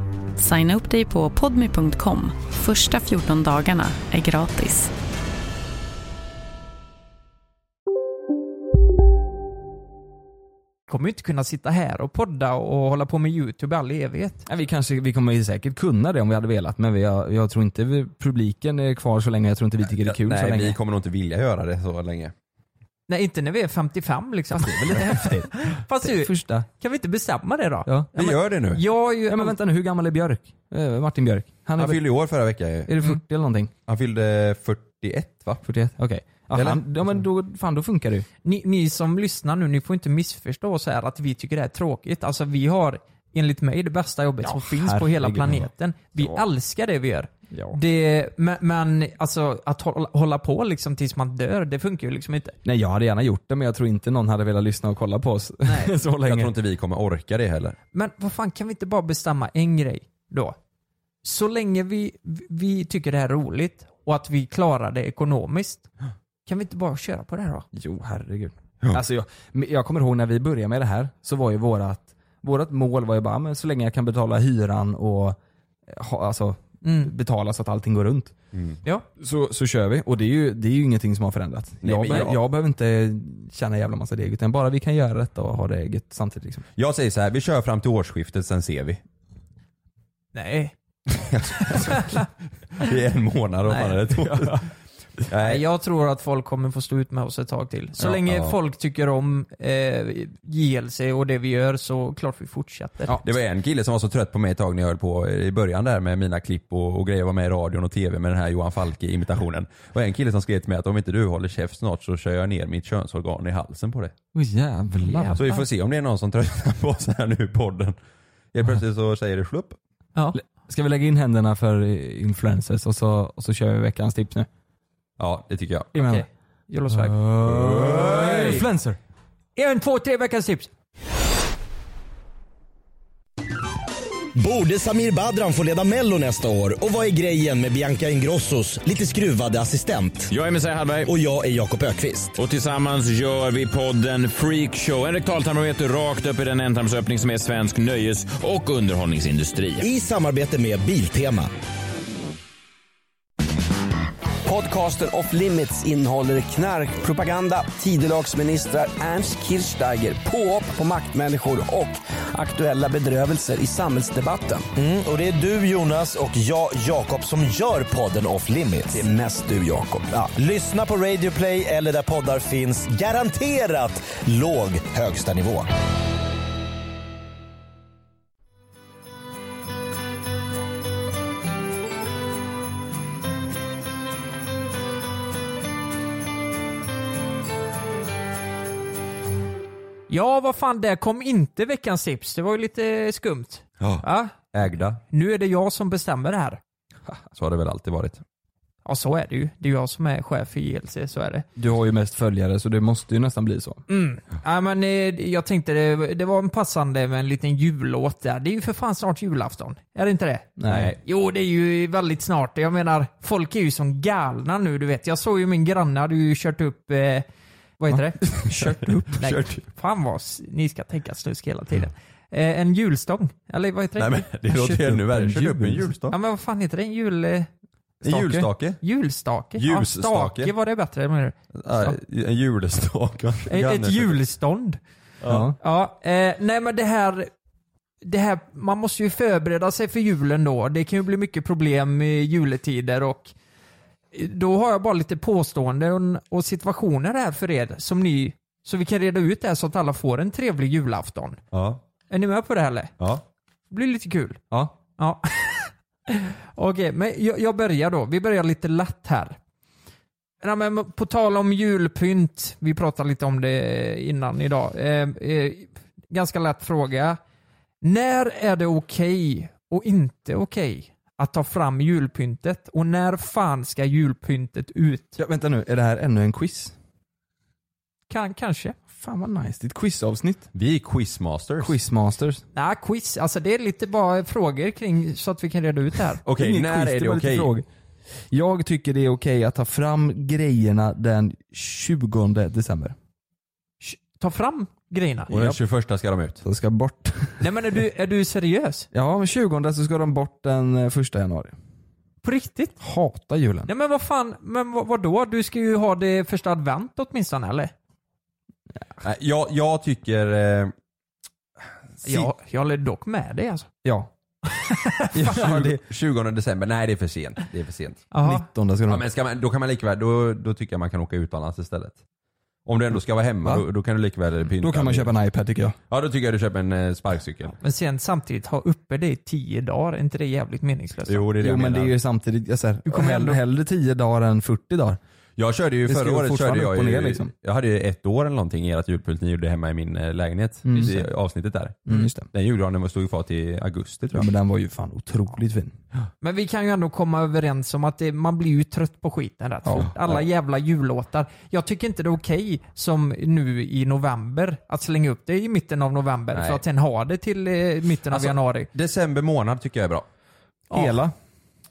Signa upp dig på podmi.com. Första 14 dagarna är gratis. kommer ju inte kunna sitta här och podda och hålla på med YouTube i all evighet. Ja, vi, kanske, vi kommer ju säkert kunna det om vi hade velat men vi, jag, jag tror inte vi, publiken är kvar så länge. Jag tror inte vi tycker det är kul så Nej, länge. vi kommer nog inte vilja göra det så länge. Nej, inte när vi är 55 liksom. Fast det är väl lite häftigt? Fast du, Första. kan vi inte bestämma det då? Ja. Vi gör det nu. Jag är ju... ja men vänta nu, hur gammal är Björk? Eh, Martin Björk? Han är, Han väl- fyllde ju år förra veckan ju. är Mm. det 40 eller någonting? Han fyllde 41 va? 41? Okej. Ja, Eller? han- Ja men då, fan då funkar det ju. ni, ni som lyssnar nu, ni får inte missförstå så här att vi tycker det här är tråkigt. Alltså vi har, enligt mig, det bästa jobbet som finns på hela herregud. planeten. Vi älskar det vi gör. Det, men, men alltså att hålla, hålla på liksom tills man dör, det funkar ju liksom inte. Nej jag hade gärna gjort det men jag tror inte någon hade velat lyssna och kolla på oss Nej. så länge. Jag tror inte vi kommer orka det heller. Men vad fan, kan vi inte bara bestämma en grej då? Så länge vi, vi tycker det här är roligt och att vi klarar det ekonomiskt, kan vi inte bara köra på det här då? Jo, herregud. Alltså jag, men jag kommer ihåg när vi började med det här, så var ju vårat, vårat mål var ju bara, men så länge jag kan betala hyran och eh, ha, alltså, Mm. betala så att allting går runt. Mm. Ja. Så, så kör vi, och det är ju, det är ju ingenting som har förändrats. Nej, jag, men be, jag- jag... behöver inte tjäna jävla massa deg, utan bara vi kan göra detta och ha det gött samtidigt. Liksom. Jag säger så här, vi kör fram till årsskiftet sen ser vi. Nej. I en månad, vad fan är det? Två- Nej. Jag tror att folk kommer få stå ut med oss ett tag till. Så Ja, länge ja. folk tycker om eh, JLC och det vi gör så klart vi fortsätter. Det var en kille som var så trött på mig ett tag när jag höll på i början där med mina klipp och, och grejer, var med i radion och tv med den här Johan Falke-imitationen. Det var en kille som skrev till mig att om inte du håller käft snart så kör jag ner mitt könsorgan i halsen på dig. Åh jävlar. Så vi får se om det är någon som tröttnar på oss här nu i podden. Helt plötsligt så säger det slupp. Ja. Ska vi lägga in händerna för eh, influencers och så, och så kör vi veckans tips nu? Ja, det tycker jag. Jajamän. Okej. Jolosväg. Oj. Influencer. En, två, tre veckans tips. Borde Samir Badran få leda Mello nästa år? Och vad är grejen med Bianca Ingrossos lite skruvade assistent? Jag är Messiah Hallberg. Och jag är Jakob Ökvist. Och tillsammans gör vi podden Freakshow. En rektaltarmometer rakt upp i den ändtarmsöppning som är svensk nöjes och underhållningsindustri. I samarbete med Biltema. Podcasten Off Limits innehåller knarkpropaganda, tidelagsministrar, Ernst Kirchsteiger, påhopp på maktmänniskor och aktuella bedrövelser i samhällsdebatten. Mm, och det är du Jonas och jag Jakob som gör podden Off Limits. Det är mest du Jakob. Ja. Lyssna på Radio Play eller där poddar finns. Garanterat låg högsta nivå. Ja, vad fan, där kom inte veckans tips. Det var ju lite skumt. Ja. Ägda, Nu är det jag som bestämmer det här. så har det väl alltid varit. Ja, så är det ju. Det är jag som är chef för JLC, så är det. Du har ju mest följare så det måste ju nästan bli så. Mm. Ja, men, eh, jag tänkte det, det var en passande med en liten jullåt där. Det är ju för fan snart julafton. Är det inte det? Nej. Jo, det är ju väldigt snart. Jag menar, folk är ju som galna nu, du vet. Jag såg ju min granne hade ju kört upp... Eh, vad heter det? kört upp? Nej. Kört Fan vad... s- Ni ska tänka snusk hela tiden. Eh, en julstång? Eller vad heter det? Nej, men det låter ju ännu värre. Kört upp en julstång. Ja, men vad fan heter det? En jul... eh, En stake? julstake? Julstake. Ja, Ljusstake. stake var det bättre. menar du? Ja, En julstake. Ett, ett julstånd. Ja. Ja, eh, nej men det här, det här, man måste ju förbereda sig för julen då. Det kan ju bli mycket problem i juletider och då har jag bara lite påståenden och situationer här för er som ni, så vi kan reda ut det här så att alla får en trevlig julafton. Ja. Är ni med på det här eller? Ja. Det blir lite kul. Ja. Ja. Okej, men jag, jag börjar då. Vi börjar lite lätt här. Nej, men på tal om julpynt, vi pratade lite om det innan idag. Eh, eh, ganska lätt fråga. När är det okej och inte okej att ta fram julpyntet? Och när fan ska julpyntet ut? Ja, vänta nu, är det här ännu en quiz? Kan, kanske. Fan vad nice, det är ett quizavsnitt. Vi är quizmasters. Quizmasters. Nej, quiz. Alltså det är lite bara frågor kring så att vi kan reda ut det här. Ingen quiz, var lite fråga. Jag tycker det är okej att ta fram grejerna den 20 december. Ta fram grejerna. Och den 21 ska de ut. De ska bort. Nej men är du, är du seriös? Ja, men 20 så ska de bort den eh, första januari. På riktigt? Hatar julen. Nej men vad fan, men vad, vadå? Du ska ju ha det första advent åtminstone eller? Nej, Jag, jag tycker... Eh, si- Jag, jag håller dock med dig alltså. Ja. ja, det... 20 december, nej det är för sent. Det är för sent. Jaha. 19 ska de Ja, men ska man, då kan man lika väl, då, då tycker jag man kan åka utomlands istället. Om du ändå ska vara hemma, Va? då, då kan du lika väl pynta. Då kan man köpa en iPad tycker jag. Ja, då tycker jag du köper en eh, sparkcykel. Men sen samtidigt ha uppe det i tio dagar, är inte det jävligt meningslöst? Jo, det är det Jo jag men det menar. är ju samtidigt, jag säger, kommer ändå- hellre, hellre 10 dagar än 40 dagar. Jag körde ju Det förra skriver året, körde fortfarande upp jag, och ju, ner, liksom. jag hade ju ett år eller någonting i ert julpynt ni gjorde hemma i min eh, lägenhet. Mm. I avsnittet där. Mm, just det. Den julgranen var- stod ju kvar till augusti tror Ja, jag. men den var ju fan otroligt fin. Men vi kan ju ändå komma överens om att det, man blir ju trött på skiten rätt Ja, fort. Alla ja. jävla jullåtar. Jag tycker inte det är okej som nu i november, att slänga upp det i mitten av november Nej. för att sen ha det till eh, mitten Alltså, av januari. December månad tycker jag är bra. Hela?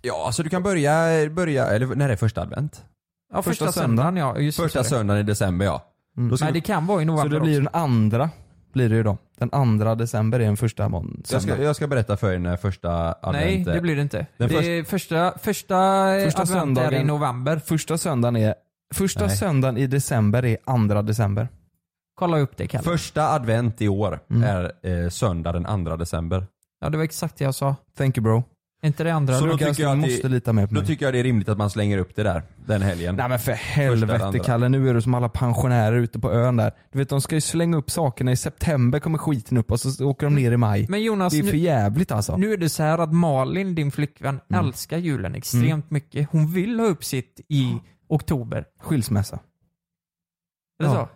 Ja, alltså du kan börja, börja eller när är första advent? Ja, första, söndagen ja. Just det, Första sorry. söndagen i december ja. Då ska Men det du, kan vara i Så november det blir också. den andra, blir det ju då. Den andra december är den första måndagen. jag, ska, jag ska berätta för er när första advent Nej, det är. blir det inte. Den det är första, första, eh, Första advent är i söndagen. november. Första söndagen är Första Nej. söndagen i december är andra december. Kolla upp det Kalle. Mm. Första advent i år är eh, söndag den 2 december. Ja, det var exakt det jag sa. Thank you bro. Inte det andra. Så då Lukas, tycker, jag du att måste det, lita mer på då mig. tycker jag det är rimligt att man slänger upp det där den helgen. Mm. Nej men för Första eller helvete andra. Kalle, nu är du som alla pensionärer ute på ön där. Du vet de ska ju slänga upp sakerna i september kommer skiten upp och så åker de ner i maj. Men Jonas, det är nu- för jävligt alltså. Nu är det så här att Malin, din flickvän, älskar julen extremt Mm. mycket. Hon vill ha upp sitt i oktober. Skilsmässa. Är det Ja. så?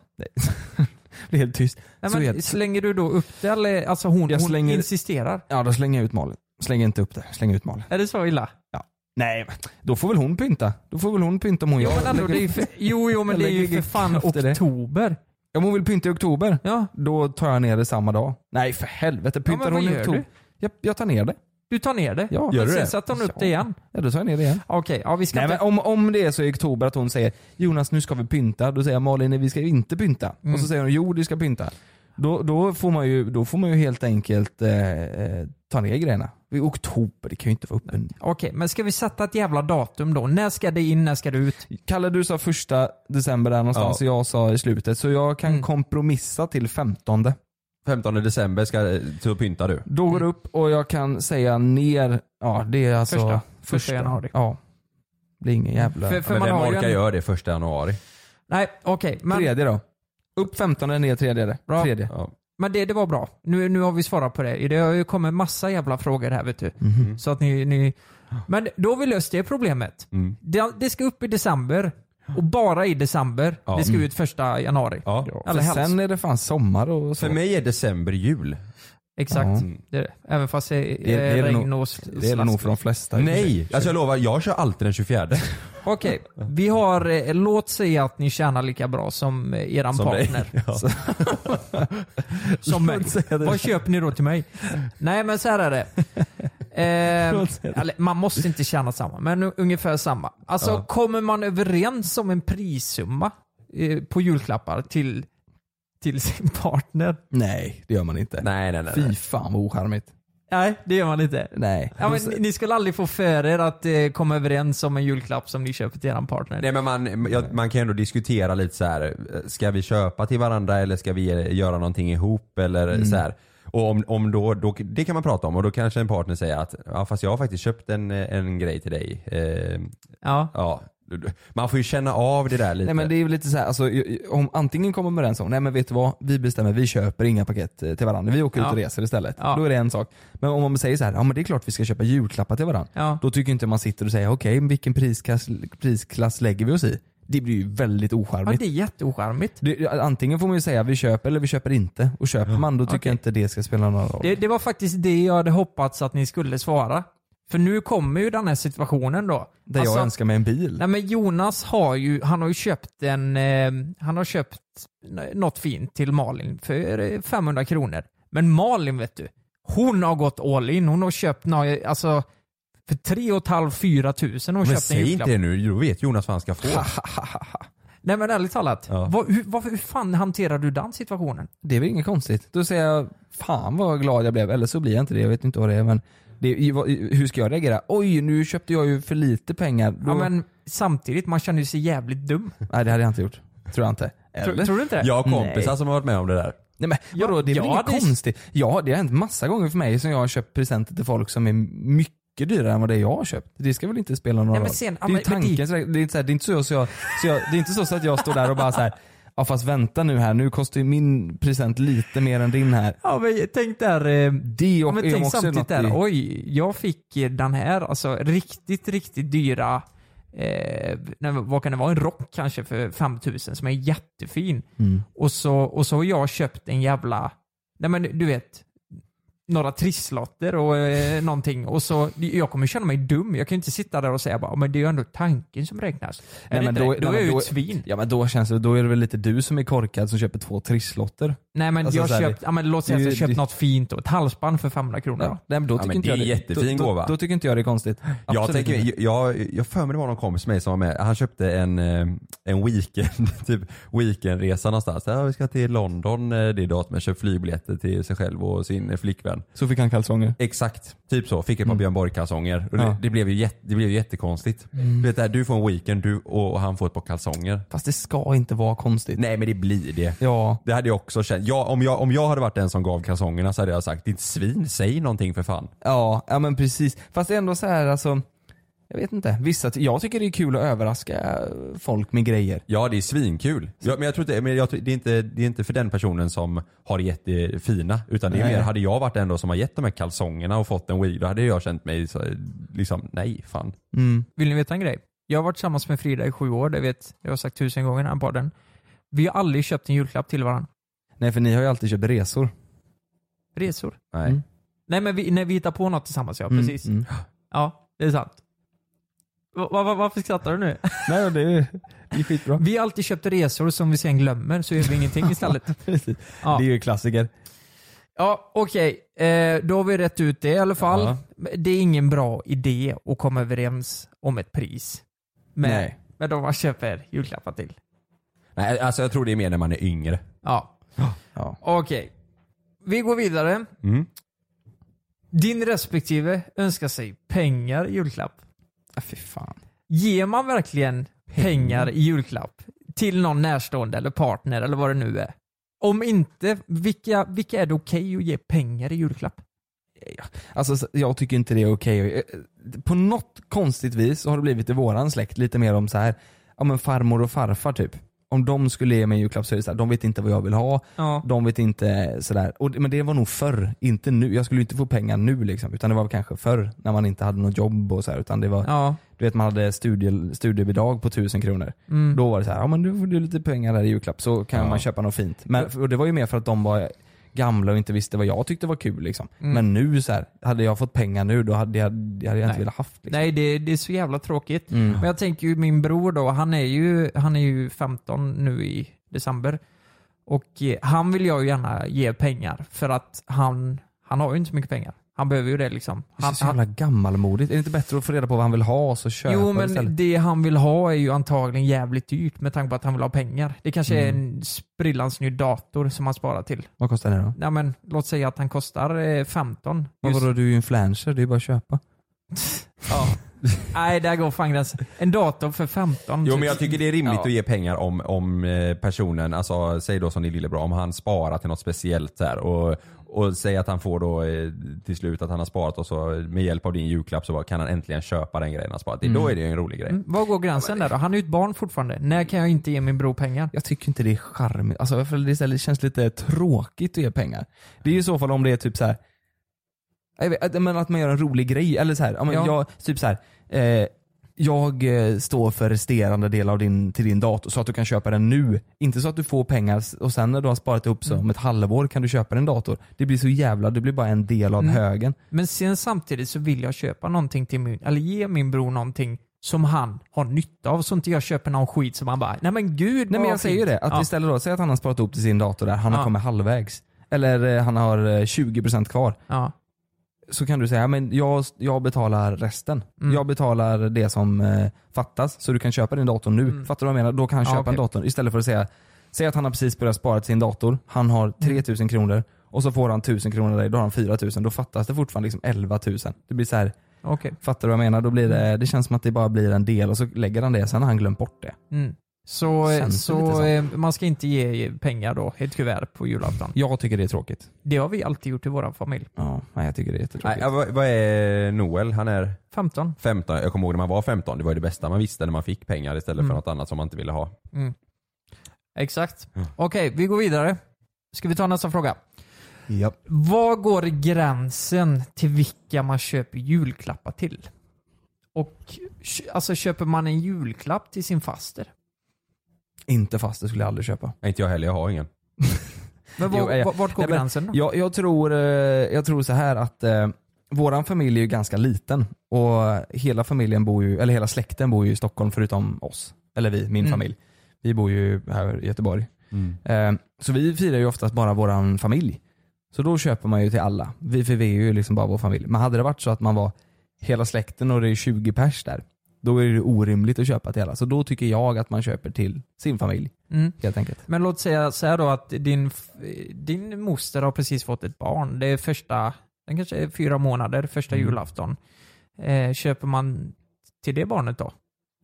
Det är helt tyst. Nej, så är men det. slänger du då upp det eller alltså hon, Jag hon slänger- insisterar? Ja, då slänger jag ut Malin. Slänger inte upp det. Slänger ut Malin. Är det så illa? Ja. Nej, då får väl hon pynta. Då får väl hon pynta om hon Jo gör. men ändå, det är ju för, jo, jo men det är ju för fan oktober. Om hon vill pynta i oktober, ja. då tar jag ner det samma dag. Nej för helvete, pyntar men vad hon i gör oktober? du? Jag, jag tar ner det. Du tar ner det? Ja, men sen satte hon upp det igen. Ja, då tar jag ner det igen. Okej, ja vi ska Nej, inte... men om, om det är så i oktober att hon säger Jonas nu ska vi pynta, då säger jag Malin nej, vi ska inte pynta. Mm. Och så säger hon jo du ska pynta. Då, då, får, man ju, då får man ju helt enkelt eh, eh, ta ner grejerna. I oktober, det kan ju inte vara öppen. Okej, men ska vi sätta ett jävla datum då? När ska det in, när ska det ut? Kalle du sa första december där någonstans Ja. och jag sa i slutet, så jag Mm. kan kompromissa till 15. 15 december ska, eh, så pyntar du. Då går det Mm. upp och jag kan säga ner, ja det är alltså Första. Första januari. Ja. Det är ingen jävla... För- för men man vem har ju orkar en- göra det första januari? Nej, okej. men... Tredje då. Upp 15 ner tredje. Bra. tredje. Men det, det var bra. Nu, nu har vi svarat på det. Det har ju kommit massa jävla frågor här vet du. Mhm. Så att ni, ni... Men då har vi löst det problemet. Mm. Det, det ska upp i december. Och bara i december. Ja. Det ska Mm. ut första januari. Ja. För Allra helst. sen är det fan sommar och så. För mig är december jul. Exakt. Ja. Det är det. Även fast det är, Det- det är det regn nog- och sl- det är det nog slask. för de flesta. Nej, alltså jag lovar, jag kör alltid den 24. Okej, vi har, eh, låt säga att ni tjänar lika bra som eh, eran Som dig. partner. Ja. Så- som mig. Låt säga det. Vad köper ni då till mig? Nej men så här är det. Eh, eller, man måste inte tjäna samma, men u- ungefär samma. Alltså Ja. kommer man överens om en prissumma eh, på julklappar till, till sin partner? Nej, det gör man inte. Nej, nej, nej. Fy fan vad ocharmigt. Nej, det gör man inte. Nej. Ja, men, ni- ni skulle aldrig få för er att eh, komma överens om en julklapp som ni köper till eran partner. Nej men man, ja, man kan ju ändå diskutera lite så här. ska vi köpa till varandra eller ska vi eh, göra någonting ihop eller Mm. så här. Och om, om då, då, det kan man prata om och då kanske en partner säger att ja, fast jag har faktiskt köpt en, eh, en grej till dig. Eh, ja. Man får ju känna av det där lite. Nej men det är ju lite så här, alltså, ju- ju- om antingen kommer man överens om, nej men vet du vad, vi bestämmer, vi köper inga paket eh, till varandra, vi åker ut Ja. och reser istället. Ja. Då är det en sak. Men om man säger så här, ja men det är klart vi ska köpa julklappar till varandra. Då tycker inte man sitter och säger, okej men vilken prisklass, prisklass lägger vi oss i? Det blir ju väldigt Ja, ocharmigt. det är jätteocharmigt. Det- Antingen får man ju säga vi köper eller vi köper inte. Och köper man då tycker jag inte det ska spela någon roll. Det, det var faktiskt det jag hade hoppats att ni skulle svara. För nu kommer ju den här situationen då. Alltså- Där jag önskar mig en bil. Nej men Jonas har ju, han har ju köpt en, eh, han har köpt n- något fint till Malin för eh, 500 kronor. Men Malin vet du, hon har gått all in. Hon har köpt, nå- alltså för 3 500-4 tusen har men hon köpt en säg julklapp. inte det nu, då vet Jonas vad han ska få. Nej men ärligt talat, vad, hur, vad, hur fan hanterar du den situationen? Det är väl inget konstigt. Då säger jag, fan vad glad jag blev. Eller så blir jag inte det, jag vet inte vad det är. Men det, är ju- vad- hur ska jag reagera? Oj, nu köpte jag ju för lite pengar. Då, Ja, men samtidigt, man känner ju sig jävligt dum. Nej det hade jag inte gjort. Tror jag inte. Tror- tror du inte det? Jag har kompisar Nej. som har varit med om det där. Nej men vadå, det är väl ja, inget det är- konstigt? Ja, det har hänt massa gånger för mig som jag har köpt presenter till folk som är mycket dyrare än vad det är jag har köpt. Det ska väl inte spela någon Nej, men roll? sen- det är ja, ju men- men det- tanken. så Det... det är inte så här- det är inte så, så, jag, så jag, det är inte så, så att jag står där och bara så här. Ja fast vänta nu här, nu kostar ju min present lite mer än din här. Ja men tänk där, eh, Det ja, och- men är tänk också samtidigt något där, i- oj, jag fick eh, den här, alltså riktigt, riktigt dyra, eh, nej, vad kan det vara, en rock kanske för 5000 som är jättefin. Mm. Och, så, och så har jag köpt en jävla, nej men du vet, några trisslotter och eh, någonting. Och så, jag kommer känna mig dum. Jag kan ju inte sitta där och säga bara, men det är ju ändå tanken som räknas. Är det inte det? då är jag ju ett svin. Ja men då känns det, då är det väl lite du som är korkad som köper två trisslotter. Nej men Alltså, jag så här, köpt, ja, men låt säga att det- jag köpt det- något fint då. Ett halsband för 500 kronor. Ja, nej, men då Ja, tycker men inte det jag är jättefin då, gåva. Då, då tycker inte jag det är konstigt. Jag, Absolut tänker, inte. jag, jag, jag för mig det var någon kompis med som var med. Han köpte en, eh, en weekend, typ weekendresa någonstans. Ja, vi ska till London eh, det datumet. Köp flygbiljetter till sig själv och sin eh, flickvän. Så fick han kalsonger. Mm. Exakt, typ så. Fick ett par Björn Borg-kalsonger. Och Ja. det, det, blev ju jätte, det blev ju jättekonstigt. Mm. Du, vet, det här, du får en weekend du, och, och han får ett par kalsonger. Fast det ska inte vara konstigt. Nej men det blir det. Ja. Det hade jag också känt. jag, om, jag, om jag hade varit den som gav kalsongerna så hade jag sagt ditt svin, säg någonting för fan. Ja, ja men precis. Fast ändå så här alltså, jag vet inte. Vissa, jag tycker det är kul att överraska folk med grejer. Ja det är svinkul. Ja, men jag tror inte, men jag, tror- det, är inte, det är inte för den personen som har gett det fina. Utan det är Nej. mer, hade jag varit den då som har gett de här kalsongerna och fått en weed då hade jag känt mig så, liksom, nej fan. Mm. Vill ni veta en grej? Jag har varit tillsammans med Frida i sju år, det vet jag har sagt tusen gånger i den här podden. Vi har aldrig köpt en julklapp till varandra. Nej för ni har ju alltid köpt resor. Resor. Nej. Nej men vi, när vi hittar på något tillsammans ja, Mm, precis. mm. Ja, det är sant. Va, va, va, varför skrattar du nu? Nej det är, det är skitbra. Vi har alltid köpt resor som vi sen glömmer, så gör vi ingenting istället. Precis. Ja. Det är ju klassiker. Ja, okej. Eh, då har vi rätt ut det i alla fall. Ja. Det är ingen bra idé att komma överens om ett pris med, Nej. med de man köper julklappar till. Nej alltså jag tror det är mer när man är yngre. Ja. Ja. Okej. Vi går vidare. Mm. Din respektive önskar sig pengar i julklapp. Ja, fy fan. Ger man verkligen pengar i julklapp till någon närstående eller partner eller vad det nu är? Om inte, vilka, vilka är det okej att ge pengar i julklapp? Alltså så- jag tycker inte det är okej. Eh, På något konstigt vis så har det blivit i våran släkt lite mer om så här, ja men farmor och farfar typ. Om de skulle ge mig en julklapp så är det så här, de vet inte vad jag vill ha, Ja. de vet inte sådär. Och, det- men det var nog förr, inte nu. Jag skulle ju inte få pengar nu liksom, utan det var kanske förr när man inte hade något jobb och så här, utan det var, Ja. du vet man hade studie, studiebidrag på tusen kronor. Mm. Då var det så här, ja men nu får du lite pengar här i julklapp så kan Ja. man köpa något fint. Men, och det var ju mer för att de var gamla och inte visste vad jag tyckte var kul liksom. Mm. Men nu så här, hade jag fått pengar nu då hade jag, det hade jag Nej. inte velat haft. Nej, det, det är så jävla tråkigt. Mm. Men jag tänker ju min bror då, han är ju, han är ju 15 nu i december. Och eh, han vill jag ju gärna ge pengar för att han, han har ju inte så mycket pengar. Han behöver ju det liksom. Det känns så Han- jävla gammalmodigt. Är det inte bättre att få reda på vad han vill ha och så köpa Jo det men istället? det han vill ha är ju antagligen jävligt dyrt med tanke på att han vill ha pengar. Det kanske är Mm. en sprillans ny dator som han sparar till. Vad kostar det då? Nej men låt säga att han kostar eh, 15. Men Just- vadå, du är ju influencer, det är ju bara att köpa. Ja. Nej, där går fan gränsen. En dator för 15 Jo typ. men jag tycker det är rimligt Ja. att ge pengar om, om eh, personen, alltså säg då som din lillebror, om han sparar till något speciellt så här, och, och säg att han får då eh, till slut att han har sparat och så med hjälp av din julklapp så bara, kan han äntligen köpa den grejen han sparat till. Mm. Då är det ju en rolig grej. Mm, Var går gränsen där då? Han är ju ett barn fortfarande. När kan jag inte ge min bror pengar? Jag tycker inte det är charmigt. Alltså, varför- det istället känns lite tråkigt att ge pengar. Det är ju i så fall om det är typ så här. Jag vet, att- men att man gör en rolig grej. Eller så här, ja. men Ja. jag, typ så här. Eh, jag eh, står för resterande del av din, till din dator så att du kan köpa den nu. Inte så att du får pengar s- och sen när du har sparat ihop så Mm. om ett halvår kan du köpa en dator. Det blir så jävla, det blir bara en del av Mm. högen. Men sen samtidigt så vill jag köpa någonting till min, eller ge min bror någonting som han har nytta av så inte jag köper någon skit som han bara, nej men gud Nej men vad jag säger ju fint." det. Att Ja. istället då, säg att han har sparat ihop till sin dator där, han Ja. har kommit halvvägs. Eller eh, han har eh, 20% kvar. Ja. Så kan du säga, "Ja, men jag, jag betalar resten. Mm. Jag betalar det som eh, fattas så du kan köpa din dator nu. Mm. Fattar du vad jag menar? Då kan han Ja, köpa okej. en dator istället för att säga, säg att han har precis börjat spara till sin dator, han Mm. har 3000 kronor och så får han 1000 kronor av dig, då har han 4000. Då fattas det fortfarande liksom 11 000. Det blir så här, Okej. Mm. fattar du vad jag menar? Då blir det, det känns som att det bara blir en del och så lägger han det, sen har han glömt bort det. Mm. Så, eh, Känns det lite så så. eh, man ska inte ge pengar då, ett kuvert på julafton. Jag tycker det är tråkigt. Det har vi alltid gjort i vår familj. Ja, nej, jag tycker det är Nej, jättetråkigt. ja, vad, vad är Noel? Han är 15. 15. Jag kommer ihåg när man var 15, det var ju det bästa man visste när man fick pengar istället Mm. för något annat som man inte ville ha. Mm. Exakt. Okej, vi går vidare. Ska vi ta nästa fråga? Japp. Var går gränsen till vilka man köper julklappar till? Och kö- alltså köper man en julklapp till sin faster? Inte fast, det skulle jag aldrig köpa. Nej, inte jag heller, jag har ingen. Men var, Jo, eh, var- vart går nej, men gränsen då? Jag, jag, tror, eh, jag tror så här att eh, våran familj är ju ganska liten och hela familjen bor ju, eller hela släkten bor ju i Stockholm förutom oss. Eller vi, min Mm. familj. Vi bor ju här i Göteborg. Eh, så vi firar ju oftast bara våran familj. Så då köper man ju till alla. Vi, för vi är ju liksom bara vår familj. Men hade det varit så att man var hela släkten och det är 20 pers där, då är det orimligt att köpa till alla. Så då tycker jag att man köper till sin familj Mm. helt enkelt. Men låt säga så här då att din, f- din moster har precis fått ett barn. Det är första, den kanske är fyra månader, första Mm. julafton. Eh, köper man till det barnet då?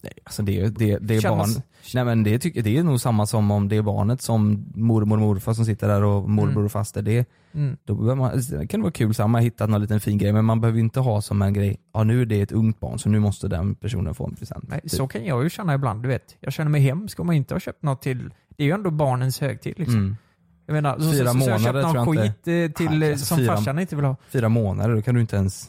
Nej, alltså det, är- det, det är Kännas- barn. Nej men det, tycker- det är nog samma som om det är barnet som mormor och morfar som sitter där och morbror Mm. och faster. Det, Mm. då behöver man, alltså, det kan vara kul, samma hittat någon liten fin grej men man behöver ju inte ha som en grej, ja nu är det ett ungt barn så nu måste den personen få en present. Nej, Så kan jag ju känna ibland, du vet. Jag känner mig hemsk om jag inte har köpt något till... Det är ju ändå barnens högtid liksom. Mm. Jag menar, så, Fyra så, så, så jag månader köpt någon tror jag skit eh, inte. till, Nej, eh, alltså som fyra- farsan inte vill ha. Fyra månader, då kan du inte ens,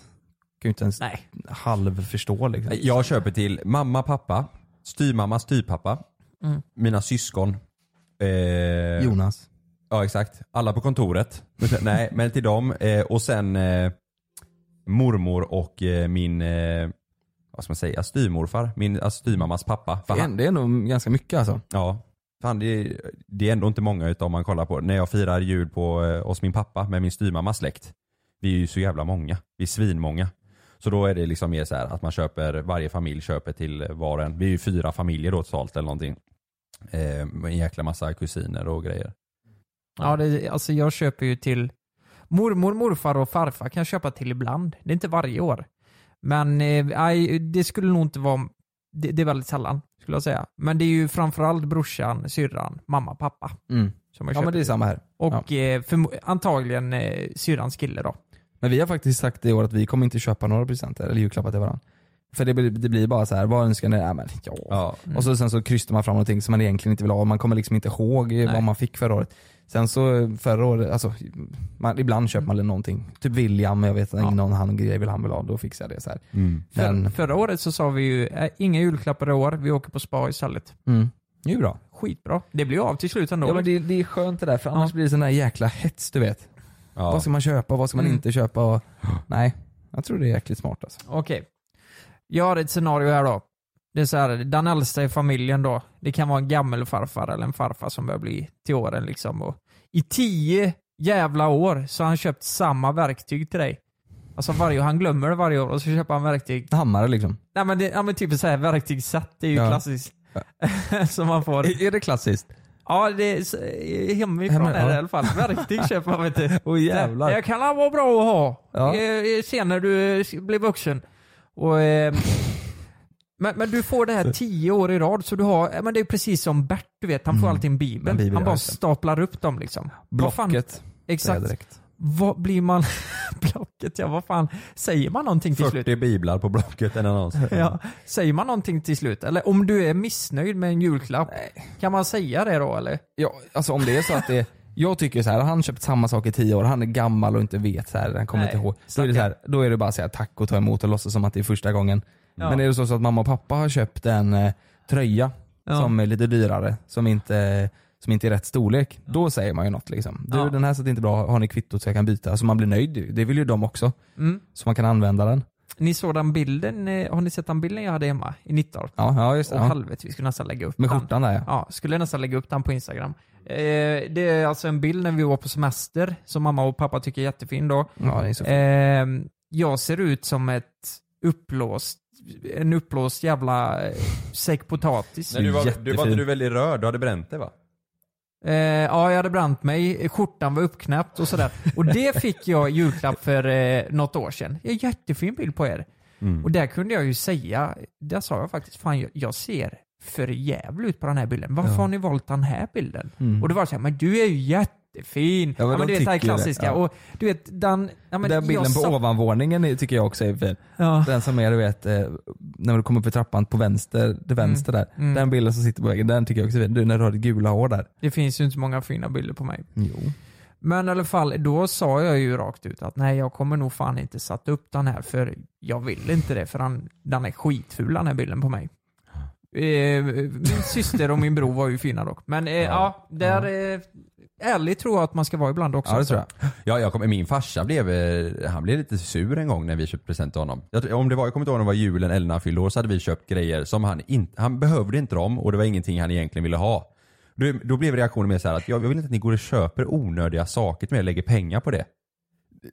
kan du inte ens Nej. halvförstå liksom. Jag köper till mamma, pappa, styrmamma, styrpappa, Mm. mina syskon. eh, Jonas. Ja exakt. Alla på kontoret. Nej men till dem. Eh, och sen eh, mormor och eh, min, eh, vad ska man säga, styrmorfar. Min alltså, styrmammas pappa. För Det är- det är nog ganska mycket alltså. Ja. Fan, det, är, det är ändå inte många utav om man kollar på när jag firar jul på, eh, hos min pappa med min styrmammas släkt. Vi är ju så jävla många. Vi är svinmånga. Så då är det liksom mer så här att man köper, varje familj köper till var och en. Vi är ju fyra familjer då totalt eller någonting. Eh, med en jäkla massa kusiner och grejer. Ja, det, alltså jag köper ju till mormor, morfar och farfar kan jag köpa till ibland. Det är inte varje år. Men eh, nej, det skulle nog inte vara, det, det är väldigt sällan skulle jag säga. Men det är ju framförallt brorsan, syrran, mamma, pappa. Mm. Som jag Ja, men köper det är till. samma här. Och eh, förmo- antagligen eh, syrrans kille då. Men vi har faktiskt sagt i år att vi kommer inte köpa några presenter eller julklappar till varandra. För det, blir- det blir bara så här, vad önskar ni? Ja, men, ja. Mm. Och så, sen så krystar man fram någonting som man egentligen inte vill ha och man kommer liksom inte ihåg eh, vad man fick förra året. Sen så eh, förra året, alltså, man, ibland köper man någonting. Typ William, jag vet inte, någon han grej vill han vill ha, då fixar jag det så här. Men, För, förra året så sa vi ju, eh, inga julklappar i år, vi åker på spa istället. mm, det är ju bra. Skitbra. Det blir ju av till slut ändå. Ja, men det, det är skönt det där, för annars blir det sån där jäkla hets du vet. Vad ska man köpa, vad ska man Mm. inte köpa? Och, nej, jag tror det är jäkligt smart alltså. Okej. Jag har ett scenario här då. Det är så här, den äldsta i familjen då. Det kan vara en gammelfarfar eller en farfar som börjar bli till åren liksom. Och I tio jävla år så har han köpt samma verktyg till dig. Alltså varje år, han glömmer det varje år och så köper han verktyg. Hammare liksom. Nej men, det, ja, men typ så här verktygsset, det är ju Ja. klassiskt. som man får. Är, det klassiskt? Ja, det är s- eh, hemifrån Hemma, är det ja. i alla fall. Verktyg köper man vet du. Åh, jävlar. Det kan vara bra att ha Ja. eh, eh, sen när du eh, blir vuxen. Och, eh, men, men du får det här tio år i rad, så du har, eh, men det är precis som Bert, du vet. Han får alltid en bibel. Mm. En bibel, han ja, bara just det. staplar upp dem liksom. Vad fan- Blocket. säger jag Exakt. direkt. Vad blir man... blocket, ja vad fan. Säger man någonting till slut? 40 biblar på Blocket, en annons. Ja, säger man någonting till slut? Eller om du är missnöjd med en julklapp, kan man säga det då eller? Ja, alltså om det är så att det Jag tycker så här, han har köpt samma sak i tio år, han är gammal och inte vet så här, han kommer Nej, inte ihåg. Då är, det så här, då är det bara att säga tack och ta emot och låtsas som att det är första gången. Ja. Men är det så, så att mamma och pappa har köpt en eh, tröja Ja. som är lite dyrare, som inte, som inte är rätt storlek, då säger man ju något liksom. Du Ja. den här satt inte bra, har ni kvittot så jag kan byta? Alltså man blir nöjd ju. det vill ju de också. Mm. Så man kan använda den. Ni såg den bilden, eh, har ni sett den bilden jag hade hemma i Nittorp? Ja, ja just det. Åh Ja. helvete, vi skulle nästan lägga upp Med den. skjortan där ja. Ja, skulle nästan lägga upp den på Instagram. Eh, det är alltså en bild när vi var på semester, som mamma och pappa tycker är jättefin då. Ja, det är så fint. eh, jag ser ut som ett uppblåst, en uppblåst jävla eh, säck potatis. Nej, du, var, du var inte du väldigt rörd? Du hade bränt dig va? Eh, ja, jag hade bränt mig, skjortan var uppknäppt och sådär. Och det fick jag i julklapp för eh, något år sedan. En jättefin bild på er. Mm. Och där kunde jag ju säga, där sa jag faktiskt, fan jag, jag ser för jävligt ut på den här bilden. Varför Ja. har ni valt den här bilden? Mm. Och då var det såhär, men du är ju jättefin. Ja, Ja, men men, de du vet det här tycker ju det, klassiska. ja. Och du vet den... Ja, men Den jag bilden på sa- ovanvåningen är- tycker jag också är fin. Ja. Den som är du vet, eh, när du kommer upp för trappan på vänster, till vänster där. mm. Den bilden som sitter på väggen, den tycker jag också är fin. Du när du har ditt gula hår där. Det finns ju inte så många fina bilder på mig. Jo. Men i alla fall, då sa jag ju rakt ut att nej, jag kommer nog fan inte sätta upp den här för jag vill inte det för han, den är skitful den här bilden på mig. Eh, min syster och min bror var ju fina dock. Men eh, ja. där... Eh, ärligt tror jag att man ska vara ibland också. Ja det tror jag. Ja, jag kom, min farsa blev, eh, han blev lite sur en gång när vi köpte present till honom. Jag, tror- om det var, jag kommer inte ihåg om det var julen eller när han fyllde år så hade vi köpt grejer som han inte, han behövde inte dem och det var ingenting han egentligen ville ha. Då, då blev reaktionen mer så här att jag, jag vill inte att ni går och köper onödiga saker till mig och lägger pengar på det.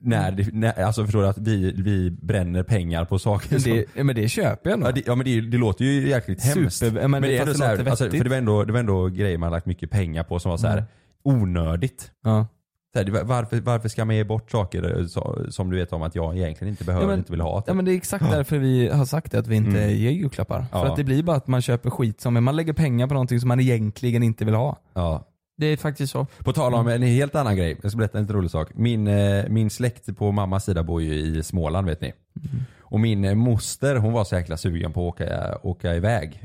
När, det- när, alltså förstår du att vi, vi bränner pengar på saker Men som... det, ja, men det köper jag nog. Ja, det, ja men det, det låter ju jäkligt Super- hemskt. ja, men men det, är fast ändå det så här, låter alltså, för vettigt. det var, ändå, det var ändå grejer man lagt mycket pengar på som var så här Mm. onödigt. Ja. Så här, det- varför, varför ska man ge bort saker eh, så- som du vet om att jag egentligen inte behöver, Ja, men- inte vill ha? Ja men det är exakt därför vi har sagt det, att vi inte Mm. ger julklappar. Ja. För att det blir bara att man köper skit som, man lägger pengar på någonting som man egentligen inte vill ha. Ja. Det är faktiskt så. På tal om en helt annan grej, jag ska berätta en lite rolig sak. Min, eh, min släkt på mammas sida bor ju i Småland vet ni. Mm. Och min eh, moster hon var så jäkla sugen på att åka, åka iväg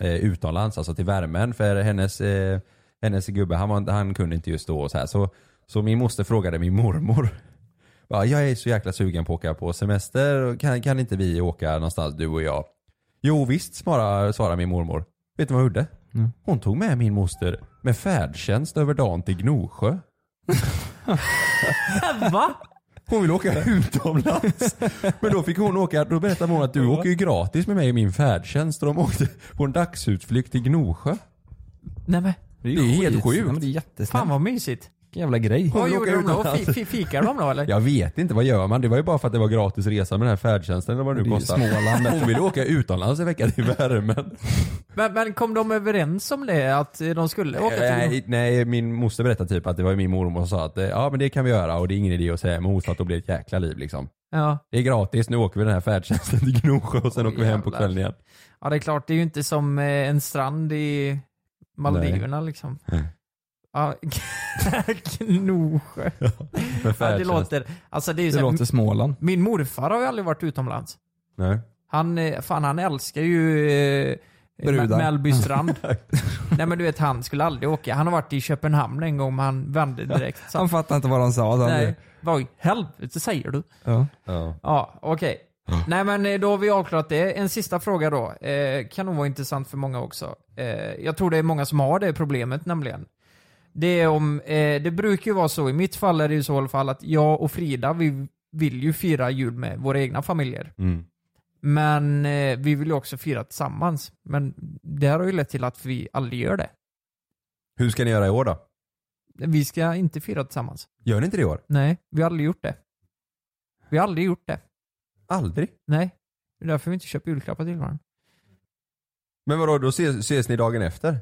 eh, utomlands, alltså till värmen. För hennes, eh, hennes gubbe han, var, han kunde inte just då. Och så, här. Så, så min moster frågade min mormor. Bara, jag är så jäkla sugen på att åka på semester, och kan, kan inte vi åka någonstans du och jag? Jo visst svarade, svarade min mormor. Vet du vad hon gjorde? Hon tog med min moster med färdtjänst över dagen till Gnosjö. Va? Hon vill åka utomlands. Men då fick hon åka, då berättade hon att du åker ju gratis med mig i min färdtjänst. Och de åkte på en dagsutflykt till Gnosjö. Nej men. Det är, helt skit. sjukt. Ja, men det är Fan vad mysigt. Vilken jävla grej. Vad gjorde de då? Fi- fi- Fikar de då eller? Jag vet inte, vad gör man? Det var ju bara för att det var gratis resa med den här färdtjänsten eller vad det nu Det är ju kostar. Småland. Hon ville åka utomlands en vecka till värmen. Men, men kom de överens om det? Att eh, de skulle åka till... Nej, nej, min moster berättade typ att det var ju min mormor som sa att eh, ja men det kan vi göra och det är ingen idé att säga emot för att då blir det ett jäkla liv liksom. Ja. Det är gratis, nu åker vi den här färdtjänsten till Gnosjö och sen åker vi hem på jävlar. kvällen igen. ja det är klart, det är ju inte som eh, en strand i Maldiverna liksom. Ja, Gnosjö. Ja, det färdtjänst. låter... Alltså det är ju Det så här- låter Småland. Min morfar har ju aldrig varit utomlands. Nej. Han, eh, fan han älskar ju eh, Brudar. Ma- Mellby strand. Nej men du vet han skulle aldrig åka. Han har varit i Köpenhamn en gång men han vände direkt. Så Han fattar inte vad han sa. Så han Nej, vad i helvete säger du? Ja. Ja, okej. Nej men eh, då har vi avklarat det. En sista fråga då. Eh, kan nog vara intressant för många också. Eh, jag tror det är många som har det problemet nämligen. Det, är om, eh, det brukar ju vara så, i mitt fall är det ju så i alla fall att jag och Frida vi vill ju fira jul med våra egna familjer. Mm. Men eh, vi vill ju också fira tillsammans. Men det här har ju lett till att vi aldrig gör det. Hur ska ni göra i år då? Vi ska inte fira tillsammans. Gör ni inte det i år? Nej, vi har aldrig gjort det. Vi har aldrig gjort det. Aldrig? Nej. Det är därför vi inte köper julklappar till varandra. Men vadå, då ses, ses ni dagen efter?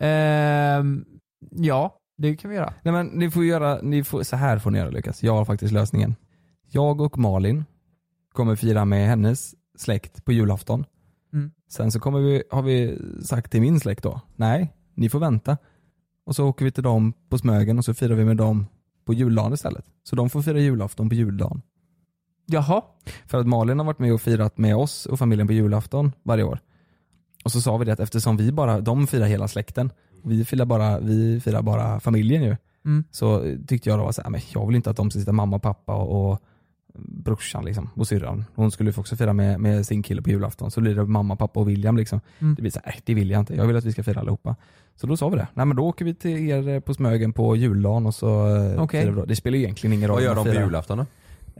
Ehm, ja, det kan vi göra. Nej men ni får göra, ni får, så här får ni göra Lukas. Jag har faktiskt lösningen. Jag och Malin kommer fira med hennes släkt på julafton. Mm. Sen så kommer vi, har vi sagt till min släkt då, nej, ni får vänta. Och så åker vi till dem på Smögen och så firar vi med dem på juldagen istället. Så de får fira julafton på juldagen. Jaha. För att Malin har varit med och firat med oss och familjen på julafton varje år. Och så sa vi det att eftersom vi bara, de firar hela släkten, vi firar bara, vi firar bara familjen ju. Mm. Så eh, tyckte jag då, så här, men jag vill inte att de ska sitta mamma och pappa och, och brorsan liksom, och syrran. Hon skulle ju också fira med, med sin kille på julafton. Så blir det mamma, pappa och William. Liksom. Mm. Det blir så här, "Nej, det vill jag inte. Jag vill att vi ska fira allihopa. Så då sa vi det. Nej men då åker vi till er eh, på Smögen på juldagen och så eh, Okej. firar vi då. Det spelar ju egentligen ingen roll. om Vad gör man de på firar. julafton då?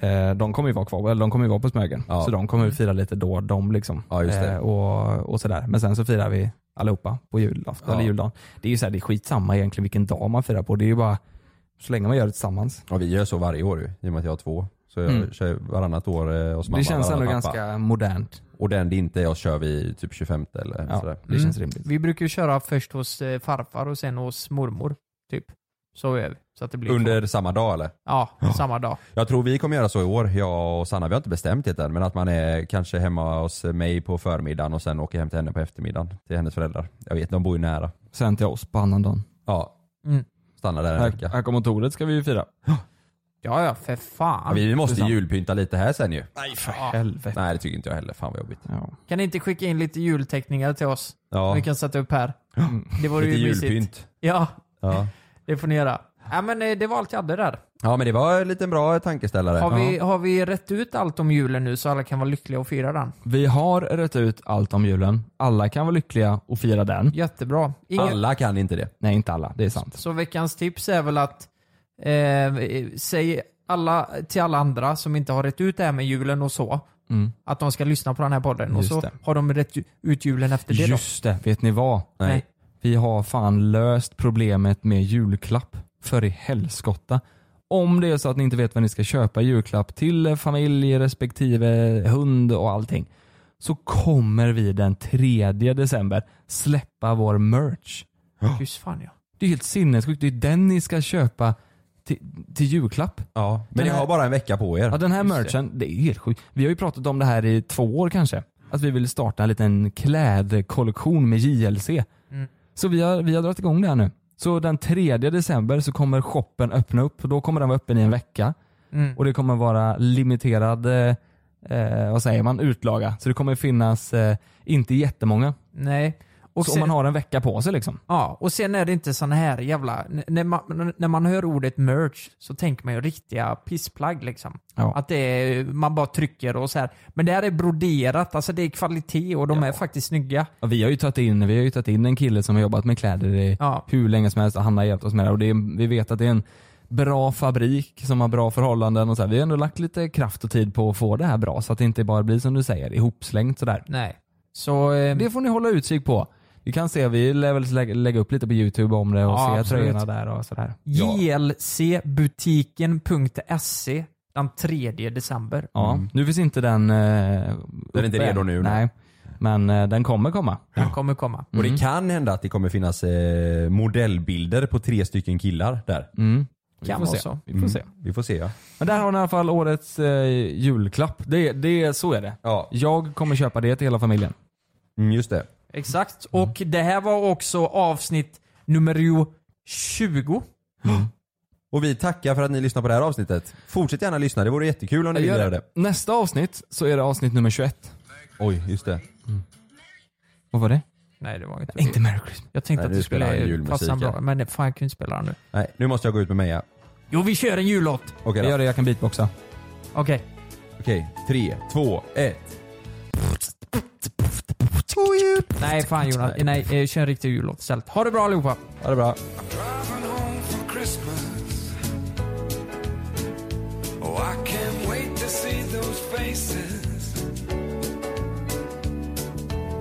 Eh, de kommer ju vara kvar, eller de kommer ju vara på Smögen. Ja. Så de kommer ju fira lite då de liksom. Ja, just det. Eh, och, och sådär. Men sen så firar vi allihopa på julafton, Ja. eller juldagen. Det är ju såhär, det är skitsamma egentligen vilken dag man firar på. Det är ju bara, så länge man gör det tillsammans. Ja vi gör så varje år ju, i och med att jag har två. Så jag Mm. kör varannat år eh, hos mamma det känns ändå varannat pappa. ganska modernt. Och den det inte jag kör vi typ 25 eller sådär. Mm. Vi brukar ju köra först hos eh, farfar och sen hos mormor. Typ. Så gör vi. Så att det blir Under samma dag eller? Ja, samma dag. Jag tror vi kommer göra så i år, jag och Sanna. Vi har inte bestämt det än men att man är kanske hemma hos mig på förmiddagen och sen åker hem till henne på eftermiddagen. Till hennes föräldrar. Jag vet, de bor ju nära. Sen till oss på annandagen. Ja. Mm. Stanna där en Här- vecka. här kommer tornet ska vi ju fira. Ja, ja, för Ja, fan. vi måste Susanne. julpynta lite här sen ju. Nej, för helvete. Nej det tycker inte jag heller. Fan vad jobbigt. Ja. Kan ni inte skicka in lite julteckningar till oss? Ja. Vi kan sätta upp här. Mm. Det vore Lite ju mysigt. julpynt. Ja, Ja. det får ni göra. Ja, men eh, det var allt jag hade där. men det var en liten bra tankeställare. Har vi, har vi rätt ut allt om julen nu så alla kan vara lyckliga och fira den? Vi har rätt ut allt om julen. Alla kan vara lyckliga och fira den. Jättebra. Inga- Alla kan inte det. Nej, inte alla. Det är sant. Så veckans tips är väl att eh, säg alla, till alla andra som inte har rätt ut det här med julen och så, Mm. att de ska lyssna på den här podden. Just och så det. har de rätt ju- ut julen efter det Just det, vet ni vad? Nej. Vi har fan löst problemet med julklapp. För i helskotta. Om det är så att ni inte vet vad ni ska köpa i julklapp till familj respektive hund och allting. Så kommer vi den 3 december släppa vår merch. då. Just fan ja. Det är helt sinnessjukt. Det är den ni ska köpa till, till julklapp. Ja, men ni har bara en vecka på er. Ja, den här Just det. merchen, det är ju helt sjukt. Vi har ju pratat om det här i två år kanske. Att vi ville starta en liten klädkollektion med JLC. Så vi har, vi har dragit igång det här nu. Så den 3 december så kommer shoppen öppna upp och då kommer den vara öppen i en vecka. Mm. Och det kommer vara limiterad, eh, eh, vad säger man, utlaga. Så det kommer finnas eh, inte jättemånga. Nej. Och så om man har en vecka på sig liksom. Ja, och sen är det inte sån här jävla... n- När man, när man hör ordet merch så tänker man ju riktiga pissplagg liksom. Ja. Att det är, man bara trycker och så här. Men det här är broderat, alltså det är kvalitet och de är faktiskt snygga. Ja, Vi har ju tagit in, vi har ju tagit in en kille som har jobbat med kläder i hur länge som helst och han har hjälpt oss med det. Och det är, vi vet att det är en bra fabrik som har bra förhållanden och så här. Vi har ändå lagt lite kraft och tid på att få det här bra så att det inte bara blir som du säger, ihopslängt sådär. Nej. Så, ehm, det får ni hålla utkik på. Vi kan se, vi lär väl lägga, lägga upp lite på youtube om det och Ja, se absolut. tröjorna där och sådär. JLCbutiken.se E den 3 december. Ja, Mm. nu finns inte den... den är inte redo nu, nej. Nej, men eh, den kommer komma. Den kommer komma. Och Mm. det kan hända att det kommer finnas eh, modellbilder på tre stycken killar där. Mm. Vi Kan får vara se. så. Vi får Mm. se. Vi får se ja. Men där har ni i alla fall årets eh, julklapp. Det, det, så är det. Jag kommer köpa det till hela familjen. just det. Exakt. Och det här var också avsnitt nummer 20. Och vi tackar för att ni lyssnar på det här avsnittet. Fortsätt gärna lyssna, det vore jättekul om ni vill göra det. Nästa avsnitt så är det avsnitt nummer 21. Oj, just det. Vad var det? Nej, det var inte Inte Merry Christmas. Jag tänkte Nej, att nu det spelar han skulle julmusik passa här. bra, men fan jag kunde inte spela den nu. Nej, nu måste jag gå ut med Meja. Jo, vi kör en jullåt! Okej Jag gör det, jag kan beatboxa. Okej. Okej, tre, två, ett. Nej, fan Jonas. Nej, eh, kör en riktig jullåt istället. Ha det bra allihopa! Ha det bra. Oh, I can't wait to see those faces.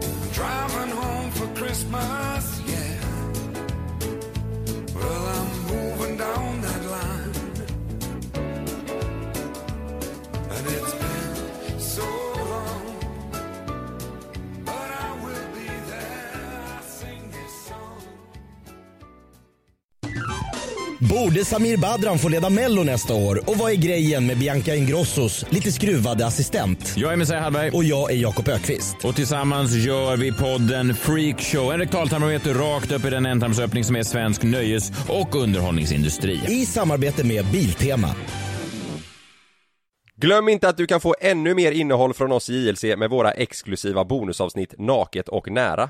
I'm driving home for Christmas, yeah. Well, I'm moving down that line. And it's been so long. But I will be there. I sing this song. Borde Samir Badran få leda Mello nästa år? Och vad är grejen med Bianca Ingrossos lite skruvade assistent? Jag är Messiah Hallberg. Och jag är Jakob Ökvist. Och tillsammans gör vi podden Freak Show. En rektaltarmometer rakt upp i den ändtarmsöppning som är svensk nöjes och underhållningsindustri. I samarbete med Biltema. Glöm inte att du kan få ännu mer innehåll från oss i JLC med våra exklusiva bonusavsnitt Naket och nära.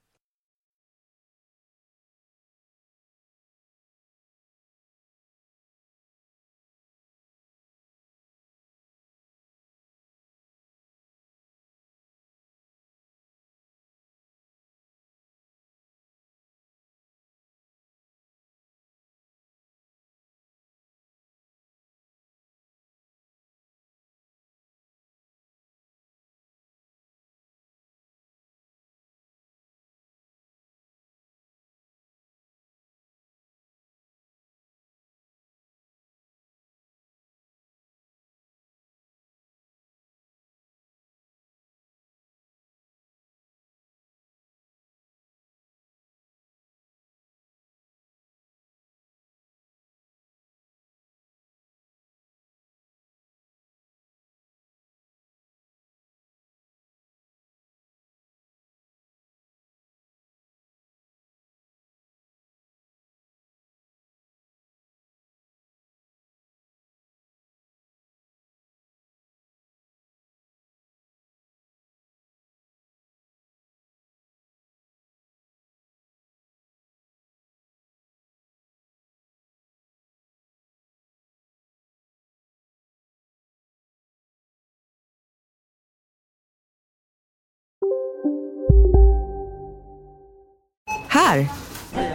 Här.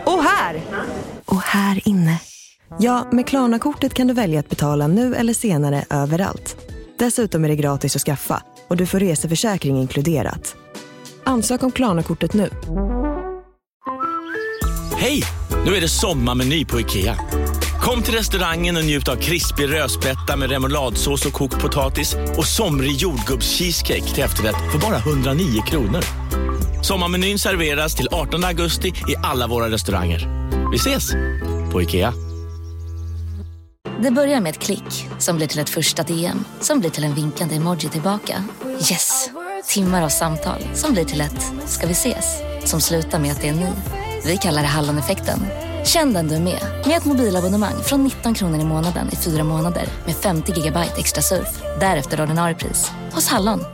Och här. Och här inne. Ja, med Klarna-kortet kan du välja att betala nu eller senare överallt. Dessutom är det gratis att skaffa och du får reseförsäkring inkluderat. Ansök om Klarna-kortet nu. Hej! Nu är det sommarmeny på IKEA. Kom till restaurangen och njut av krispig rödspätta med remouladsås och kokt potatis och somrig jordgubbscheesecake till efterrätt för bara 109 kronor. Sommarmenyn serveras till 18 augusti i alla våra restauranger. Vi ses! På IKEA. Det börjar med ett klick som blir till ett första DM som blir till en vinkande emoji tillbaka. Yes! Timmar av samtal som blir till ett “ska vi ses?” som slutar med att det är ni. Vi kallar det Halloneffekten. Känn den du är med, med ett mobilabonnemang från 19 kronor i månaden i fyra månader med 50 gigabyte extra surf. Därefter ordinarie pris, hos Hallon.